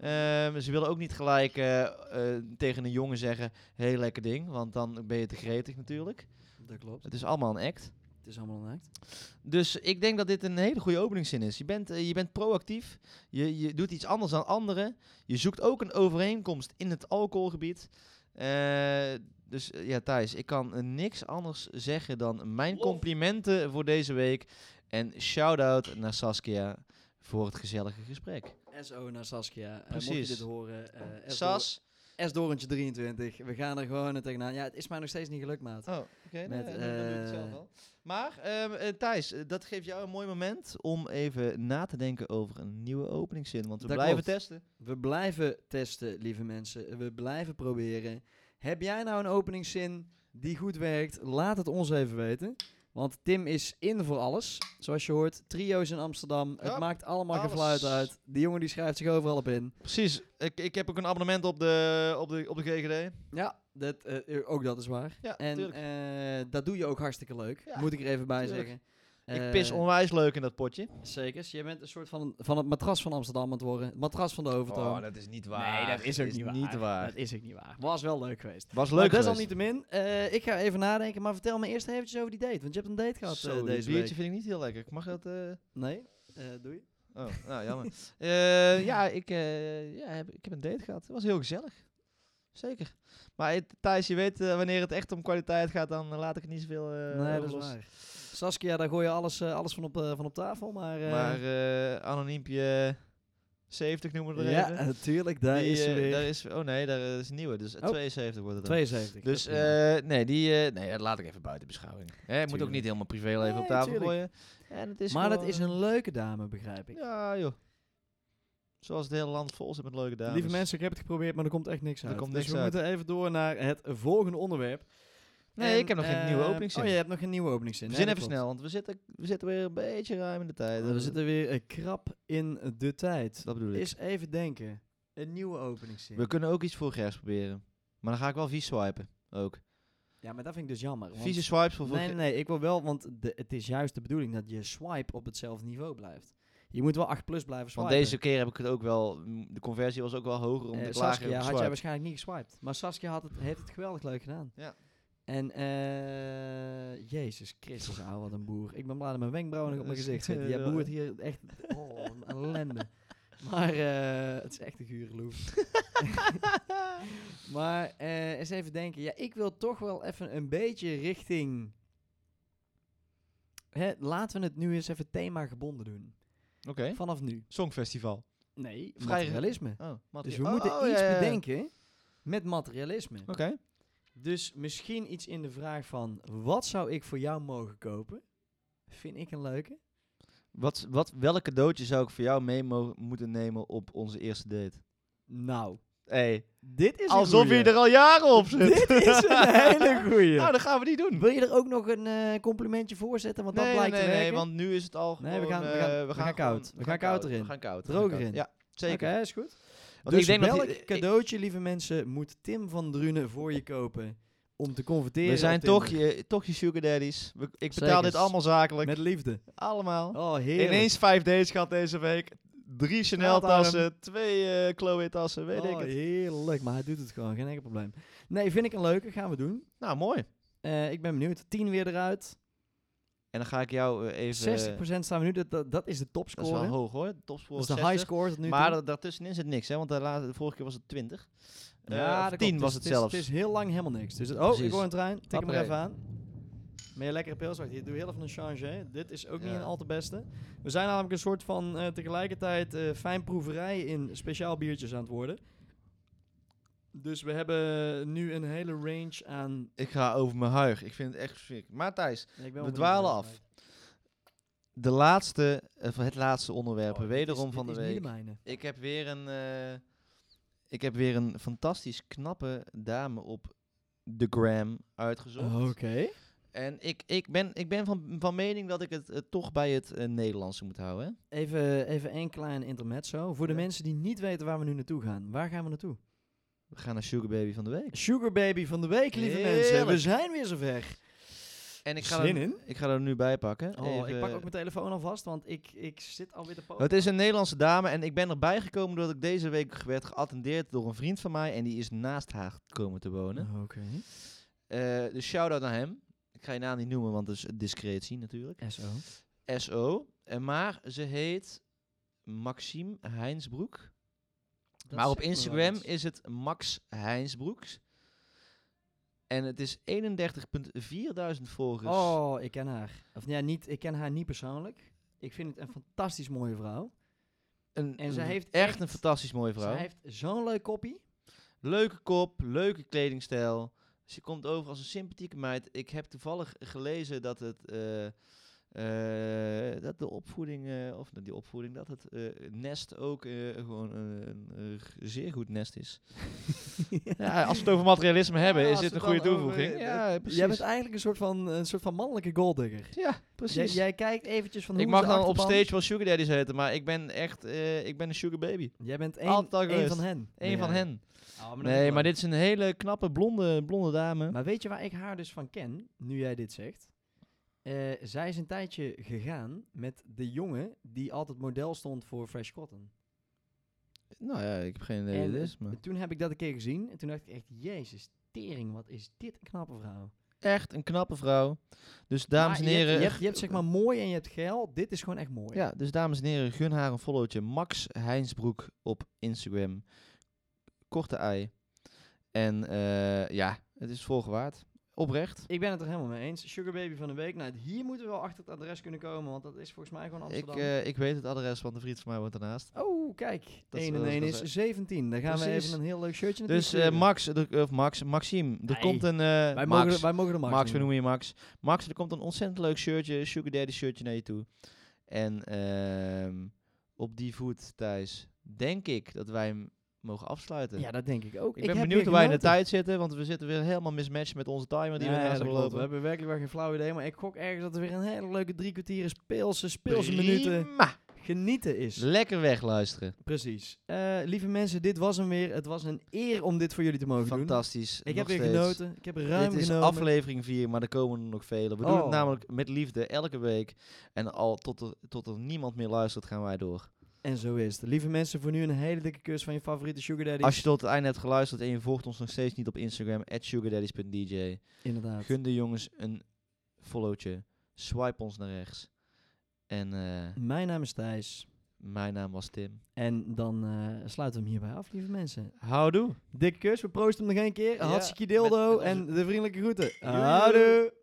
S2: Ehm, ze willen ook niet gelijk eh, eh, tegen een jongen zeggen, hey lekker ding, want dan ben je te gretig natuurlijk.
S1: Dat klopt.
S2: Het is allemaal een act.
S1: Het is allemaal naakt.
S2: Dus ik denk dat dit een hele goede openingszin is. Je bent, eh, je bent proactief, je, je doet iets anders dan anderen. Je zoekt ook een overeenkomst in het alcoholgebied. Eh, dus eh, ja, Thijs, ik kan eh, niks anders zeggen dan mijn
S1: Klopt.
S2: complimenten voor deze week. En shout-out naar Saskia voor het gezellige gesprek.
S1: SO naar Saskia. Eh, mocht
S2: Precies.
S1: je dit horen. eh, S
S2: Sas?
S1: Dor- S Dorentje 23. We gaan er gewoon er tegenaan. Ja, het is mij nog steeds niet gelukt, maat.
S2: Oh, oké. nou,
S1: Met,
S2: dan- dan doe ik het zelf
S1: eh,
S2: wel. Maar ehm, eh, Thijs, eh, dat geeft jou een mooi moment om even na te denken over een nieuwe openingszin. Want we
S1: Dat
S2: blijven
S1: klopt.
S2: testen.
S1: We blijven testen, lieve mensen. We blijven proberen. Heb jij nou een openingszin die goed werkt? Laat het ons even weten. Want Tim is in voor alles, zoals je hoort. Trio's in Amsterdam, het
S2: Ja,
S1: maakt allemaal
S2: alles.
S1: gefluit uit. Die jongen die schrijft zich overal op in.
S2: Precies. Ik, ik heb ook een abonnement op de, op de, op de GGD.
S1: Ja, dat, eh, ook dat is waar.
S2: Ja,
S1: en
S2: tuurlijk.
S1: eh, dat doe je ook hartstikke leuk,
S2: Ja,
S1: moet ik er even bij
S2: tuurlijk.
S1: zeggen. Eh,
S2: ik pis onwijs leuk in dat potje.
S1: Zeker, je bent een soort van, van het matras van Amsterdam aan het worden. Het matras van de Overtoom.
S2: Oh, dat is niet
S1: Dat is ook niet waar. Was wel leuk geweest.
S2: Was
S1: Leuk
S2: leuk
S1: dat is al
S2: geweest.
S1: niet te min. Eh, ik ga even nadenken, maar vertel me eerst eventjes over die date. Want je hebt een date gehad
S2: Zo,
S1: eh,
S2: dit
S1: deze
S2: biertje
S1: week.
S2: vind ik niet heel lekker. Ik mag dat... eh,
S1: Nee? Eh doei.
S2: Oh, nou jammer. Eh, ja, ik, eh, ja heb, ik heb een date gehad. Het was heel gezellig. Zeker. Maar het- Thijs, je weet eh, wanneer het echt om kwaliteit gaat, dan eh, laat ik het niet zoveel eh
S1: nee, dat is
S2: overlos.
S1: waar. Saskia, daar gooi je alles, eh, alles van, op, eh, van op tafel. Maar, eh,
S2: Maar eh, anoniempje 70 noemen we er
S1: ja,
S2: even.
S1: natuurlijk, daar
S2: Die,
S1: is ze
S2: eh,
S1: weer.
S2: daar is, oh nee, daar is een nieuwe. Dus eh,
S1: Oh.
S2: 72 wordt het dan.
S1: 72.
S2: Dus
S1: dat is prima.
S2: eh, nee, die, eh, nee, dat laat ik even buiten beschouwing. Hè, ik moet ook
S1: Tuurlijk.
S2: niet helemaal privéleven
S1: Nee,
S2: op tafel
S1: tuurlijk.
S2: gooien. En het is
S1: maar dat
S2: gewoon,
S1: is een leuke dame, begrijp ik.
S2: Ja, joh. Zoals het hele land vol zit met leuke dames.
S1: Lieve mensen, ik heb het geprobeerd, maar er komt echt niks
S2: dus- Er
S1: uit.
S2: komt
S1: dus
S2: niks
S1: we
S2: uit.
S1: moeten even door naar het volgende onderwerp.
S2: Nee,
S1: En,
S2: ik heb nog geen nieuwe
S1: eh,
S2: openingszin.
S1: Oh, je hebt nog geen nieuwe openingszin.
S2: We
S1: Nee,
S2: zijn even
S1: dat klopt.
S2: snel, want we zitten, we zitten weer een beetje ruim in de tijd.
S1: We zitten weer eh, krap in de tijd.
S2: dat bedoel ik.
S1: Is even denken. Een nieuwe openingszin.
S2: We kunnen ook iets voor Gers proberen. Maar dan ga ik wel vies swipen. Ook.
S1: ja, maar dat vind ik dus jammer. want- eh,
S2: Vieze swipes voor
S1: Nee, nee, nee, ik wil wel, want de, het is juist de bedoeling dat je swipe op hetzelfde niveau blijft. Je moet wel 8 plus blijven
S2: Want
S1: swipen.
S2: deze keer heb ik het ook wel. De conversie was ook wel hoger om
S1: Eh,
S2: de te klagen.
S1: Saskia
S2: op
S1: had jij
S2: swipe.
S1: waarschijnlijk niet geswiped. Maar Saskia had het, heeft het geweldig leuk gedaan.
S2: Ja.
S1: En, eh, jezus Christus, ouwe, wat een boer. Ik ben blij dat mijn wenkbrauwen nog op mijn
S2: Dus,
S1: gezicht zitten.
S2: eh,
S1: Jij
S2: ja.
S1: boert hier echt, oh, een ellende. Maar eh, het is echt een gure loef. maar eh, eens even denken. Ja, ik wil toch wel even een beetje richting... Hè, laten we het nu eens even thema gebonden doen.
S2: Oké.
S1: Vanaf nu.
S2: Songfestival.
S1: Nee,
S2: Vrij-
S1: materialisme.
S2: Oh, Mattie-
S1: Dus we
S2: Oh,
S1: moeten
S2: oh,
S1: iets
S2: ja, ja, ja.
S1: bedenken met materialisme.
S2: Oké.
S1: Dus misschien iets in de vraag van... wat zou ik voor jou mogen kopen? Vind ik een leuke.
S2: Wat, wat, welk cadeautje zou ik voor jou mee mo- moeten nemen op onze eerste date?
S1: Nou,
S2: Hey,
S1: dit is een
S2: alsof
S1: goeie.
S2: je er al jaren op zit.
S1: Dit is een hele goeie.
S2: Nou, dat gaan we niet doen.
S1: Wil je er ook nog een eh, complimentje voor zetten? Want dat
S2: nee,
S1: blijkt
S2: nee,
S1: te
S2: nee,
S1: werken.
S2: want nu is het al
S1: Nee,
S2: gewoon...
S1: we gaan- we
S2: eh,
S1: gaan- we gaan
S2: gewoon-
S1: koud. We gaan koud erin.
S2: We gaan koud. we
S1: Droog
S2: gaan koud.
S1: erin.
S2: Ja, zeker.
S1: Oké, is goed.
S2: Want
S1: dus
S2: ik denk
S1: welk
S2: dat die-
S1: cadeautje, lieve mensen, moet Tim van Drunen voor je kopen... om te converteren
S2: we
S1: op
S2: zijn
S1: Tinder?
S2: toch je, toch je sugar daddies. We- ik betaal
S1: Zekers.
S2: dit allemaal zakelijk.
S1: Met liefde.
S2: allemaal.
S1: Oh, heerlijk.
S2: Ineens vijf dates gehad deze week. Drie Chanel tassen, twee eh Chloe tassen, weet ik
S1: oh,
S2: het.
S1: heerlijk. Maar hij doet het gewoon. Geen enkel probleem. Nee, vind ik een leuke. Gaan we doen.
S2: Nou, mooi.
S1: Eh, ik ben benieuwd. 10 weer eruit.
S2: En dan ga ik jou eh, even...
S1: 60% staan we nu. Dat, dat, dat is de
S2: Dat is wel
S1: topscore.
S2: hoog hoor, topscore
S1: Dat is de
S2: 60.
S1: high score tot nu
S2: Maar
S1: toe.
S2: da- daartussenin zit niks, hè? Want de, laatste, de vorige keer was het 20. Eh, of
S1: dat
S2: 10
S1: klopt.
S2: was
S1: Dus
S2: het
S1: is-
S2: zelfs.
S1: Het is heel lang helemaal niks. Dus het- oh, ik
S2: Precies.
S1: hoor een trein. Tik hem er
S2: Apparaat.
S1: even aan. Met je lekkere pils. Wacht, hier doe heel even een change. Dit is ook niet
S2: Ja.
S1: een al te beste. We zijn namelijk een soort van eh, tegelijkertijd eh fijnproeverij in speciaal biertjes aan het worden. Dus we hebben nu een hele range aan...
S2: Ik ga over mijn huig. Ik vind het echt verschrikkelijk. Maar Thijs,
S1: Ja, ik ben wel
S2: We
S1: benieuwd
S2: dwalen
S1: hoe het
S2: af.
S1: smaakt.
S2: de laatste, eh, het laatste onderwerp,
S1: Oh, dit
S2: wederom
S1: is-
S2: van de
S1: dit is
S2: week.
S1: niet de mijne.
S2: Ik heb weer een. eh, ik heb weer een fantastisch knappe dame op de gram uitgezocht.
S1: Oh, Oké.
S2: En ik, ik ben, ik ben van, van mening dat ik het eh, toch bij het eh, Nederlandse moet houden. Hè?
S1: Even, even één klein intermezzo. Voor de
S2: Ja.
S1: mensen die niet weten waar we nu naartoe gaan. Waar gaan we naartoe?
S2: We gaan naar Sugar Baby van de week.
S1: Sugar Baby van de week, lieve mensen.
S2: Heerlijk.
S1: We zijn weer zover.
S2: En ik ga,
S1: Zin
S2: er,
S1: in?
S2: ik ga er nu bij pakken.
S1: Oh, ik
S2: Even- eh,
S1: pak ook mijn telefoon alvast, want ik, ik zit alweer te poten.
S2: Het is een Nederlandse dame en ik ben erbij gekomen doordat ik deze week werd geattendeerd door een vriend van mij. En die is naast haar komen te wonen.
S1: Oké.
S2: Eh, dus shout-out naar hem. Ik ga je naam niet noemen, want dat is discretie natuurlijk.
S1: SO.
S2: SO. En maar ze heet Maxime Heinsbroek.
S1: Dat
S2: maar op
S1: zegt me wel
S2: Instagram
S1: iets.
S2: is het Max Heinsbroeks. En het is 31.4000 volgers.
S1: Oh, ik ken haar. Of ja, niet, ik ken haar niet persoonlijk. Ik vind het een fantastisch mooie vrouw.
S2: Een-
S1: en
S2: een-
S1: ze heeft
S2: echt
S1: echt-
S2: een fantastisch mooie vrouw.
S1: Ze heeft zo'n leuk koppie.
S2: Leuke kop, leuke kledingstijl. Ze komt over als een sympathieke meid. Ik heb toevallig gelezen dat het eh, eh, dat de opvoeding, eh, of die opvoeding, dat het eh, nest ook eh, gewoon een, een r- zeer goed nest is. ja, als we het over materialisme hebben,
S1: Ja,
S2: is
S1: als
S2: dit
S1: we
S2: een
S1: het
S2: goede
S1: dan over-
S2: toevoeging. ja, precies.
S1: Jij bent eigenlijk een soort van, een soort van mannelijke golddigger.
S2: ja,
S1: Jij,
S2: precies.
S1: jij kijkt eventjes van hoe
S2: ik mag
S1: is
S2: dan
S1: de
S2: op
S1: achterban.
S2: stage wel sugar daddies heten, maar ik ben echt, eh, ik ben een sugar baby.
S1: Jij bent één,
S2: Altijd al
S1: één
S2: geweest.
S1: van hen.
S2: Eén
S1: Ben
S2: van
S1: jij.
S2: hen.
S1: Oh, maar dat vind
S2: Nee,
S1: ik
S2: maar
S1: leuk.
S2: dit is een hele knappe blonde, blonde dame.
S1: Maar weet je waar ik haar dus van ken, nu jij dit zegt? Eh, zij is een tijdje gegaan met de jongen die altijd model stond voor Fresh Cotton.
S2: nou ja, ik heb geen idee
S1: En
S2: wie dit is, maar...
S1: En Toen heb ik dat een keer gezien en toen dacht ik echt, jezus, tering, wat is dit een knappe vrouw.
S2: Echt een knappe vrouw. Dus dames
S1: Maar
S2: en heren...
S1: Je hebt, je, hebt, je hebt zeg maar mooi en je hebt geil, dit is gewoon echt mooi.
S2: Ja, dus dames en heren, gun haar een followtje. Max Heinsbroek op Instagram. Korte ei. En eh, ja, het is volgen waard. Oprecht.
S1: Ik ben het er helemaal mee eens. Sugar Baby van de week. Nou, hier moeten we wel achter het adres kunnen komen, want dat is volgens mij gewoon
S2: Ik,
S1: Amsterdam.
S2: eh, ik weet het adres, want een vriend van mij woont ernaast.
S1: oh, kijk.
S2: dat is
S1: 1 en
S2: wel-
S1: 1
S2: dat
S1: is
S2: is-
S1: 17. Dan gaan we
S2: Precies.
S1: even een heel leuk shirtje naartoe
S2: Dus eh,
S1: sturen.
S2: Max, er- of Max, Maxime, er
S1: Nee,
S2: komt een... eh,
S1: Wij
S2: Max,
S1: mogen, wij mogen de Max,
S2: Max, we
S1: noemen.
S2: noemen je Max. Max, er komt een ontzettend leuk shirtje, Sugar Daddy shirtje naar je toe. En ehm, op die voet, Thijs, denk ik dat wij hem mogen afsluiten.
S1: Ja, dat denk ik ook.
S2: Ik ben
S1: heb
S2: benieuwd
S1: weer
S2: hoe wij in de
S1: genoten.
S2: tijd zitten, want we zitten weer helemaal mismatched met onze timer die
S1: Nee,
S2: we
S1: dat
S2: naast hebben
S1: klopt. We
S2: lopen.
S1: hebben werkelijk wel geen flauw idee, maar ik gok ergens dat er weer een hele leuke drie kwartieren speelse, speelse minuten
S2: Prima.
S1: genieten is.
S2: Lekker wegluisteren.
S1: Precies. Eh, lieve mensen, dit was hem weer. Het was een eer om dit voor jullie te mogen doen.
S2: Fantastisch.
S1: Ik
S2: nog
S1: heb weer
S2: steeds.
S1: genoten. Ik heb ruim
S2: Dit is
S1: genomen.
S2: aflevering 4, maar er komen er nog vele. We doen
S1: Oh.
S2: het namelijk met liefde elke week. En al tot er, tot er niemand meer luistert, gaan wij door.
S1: En zo is het. Lieve mensen, voor nu een hele dikke kus van je favoriete Sugar Daddy.
S2: Als je tot het einde hebt geluisterd en je volgt ons nog steeds niet op Instagram, sugardaddies.dj.
S1: Inderdaad.
S2: Gun de jongens een followtje. Swipe ons naar rechts. En eh,
S1: Mijn naam is Thijs.
S2: mijn naam was Tim.
S1: En dan eh, sluiten we hem hierbij af, lieve mensen.
S2: Houdoe.
S1: Dikke kus, we proosten hem nog één keer.
S2: Ja,
S1: Hartstikke
S2: met-
S1: dildo
S2: met onze-
S1: en de vriendelijke groeten.
S2: Joejoe.
S1: Houdoe.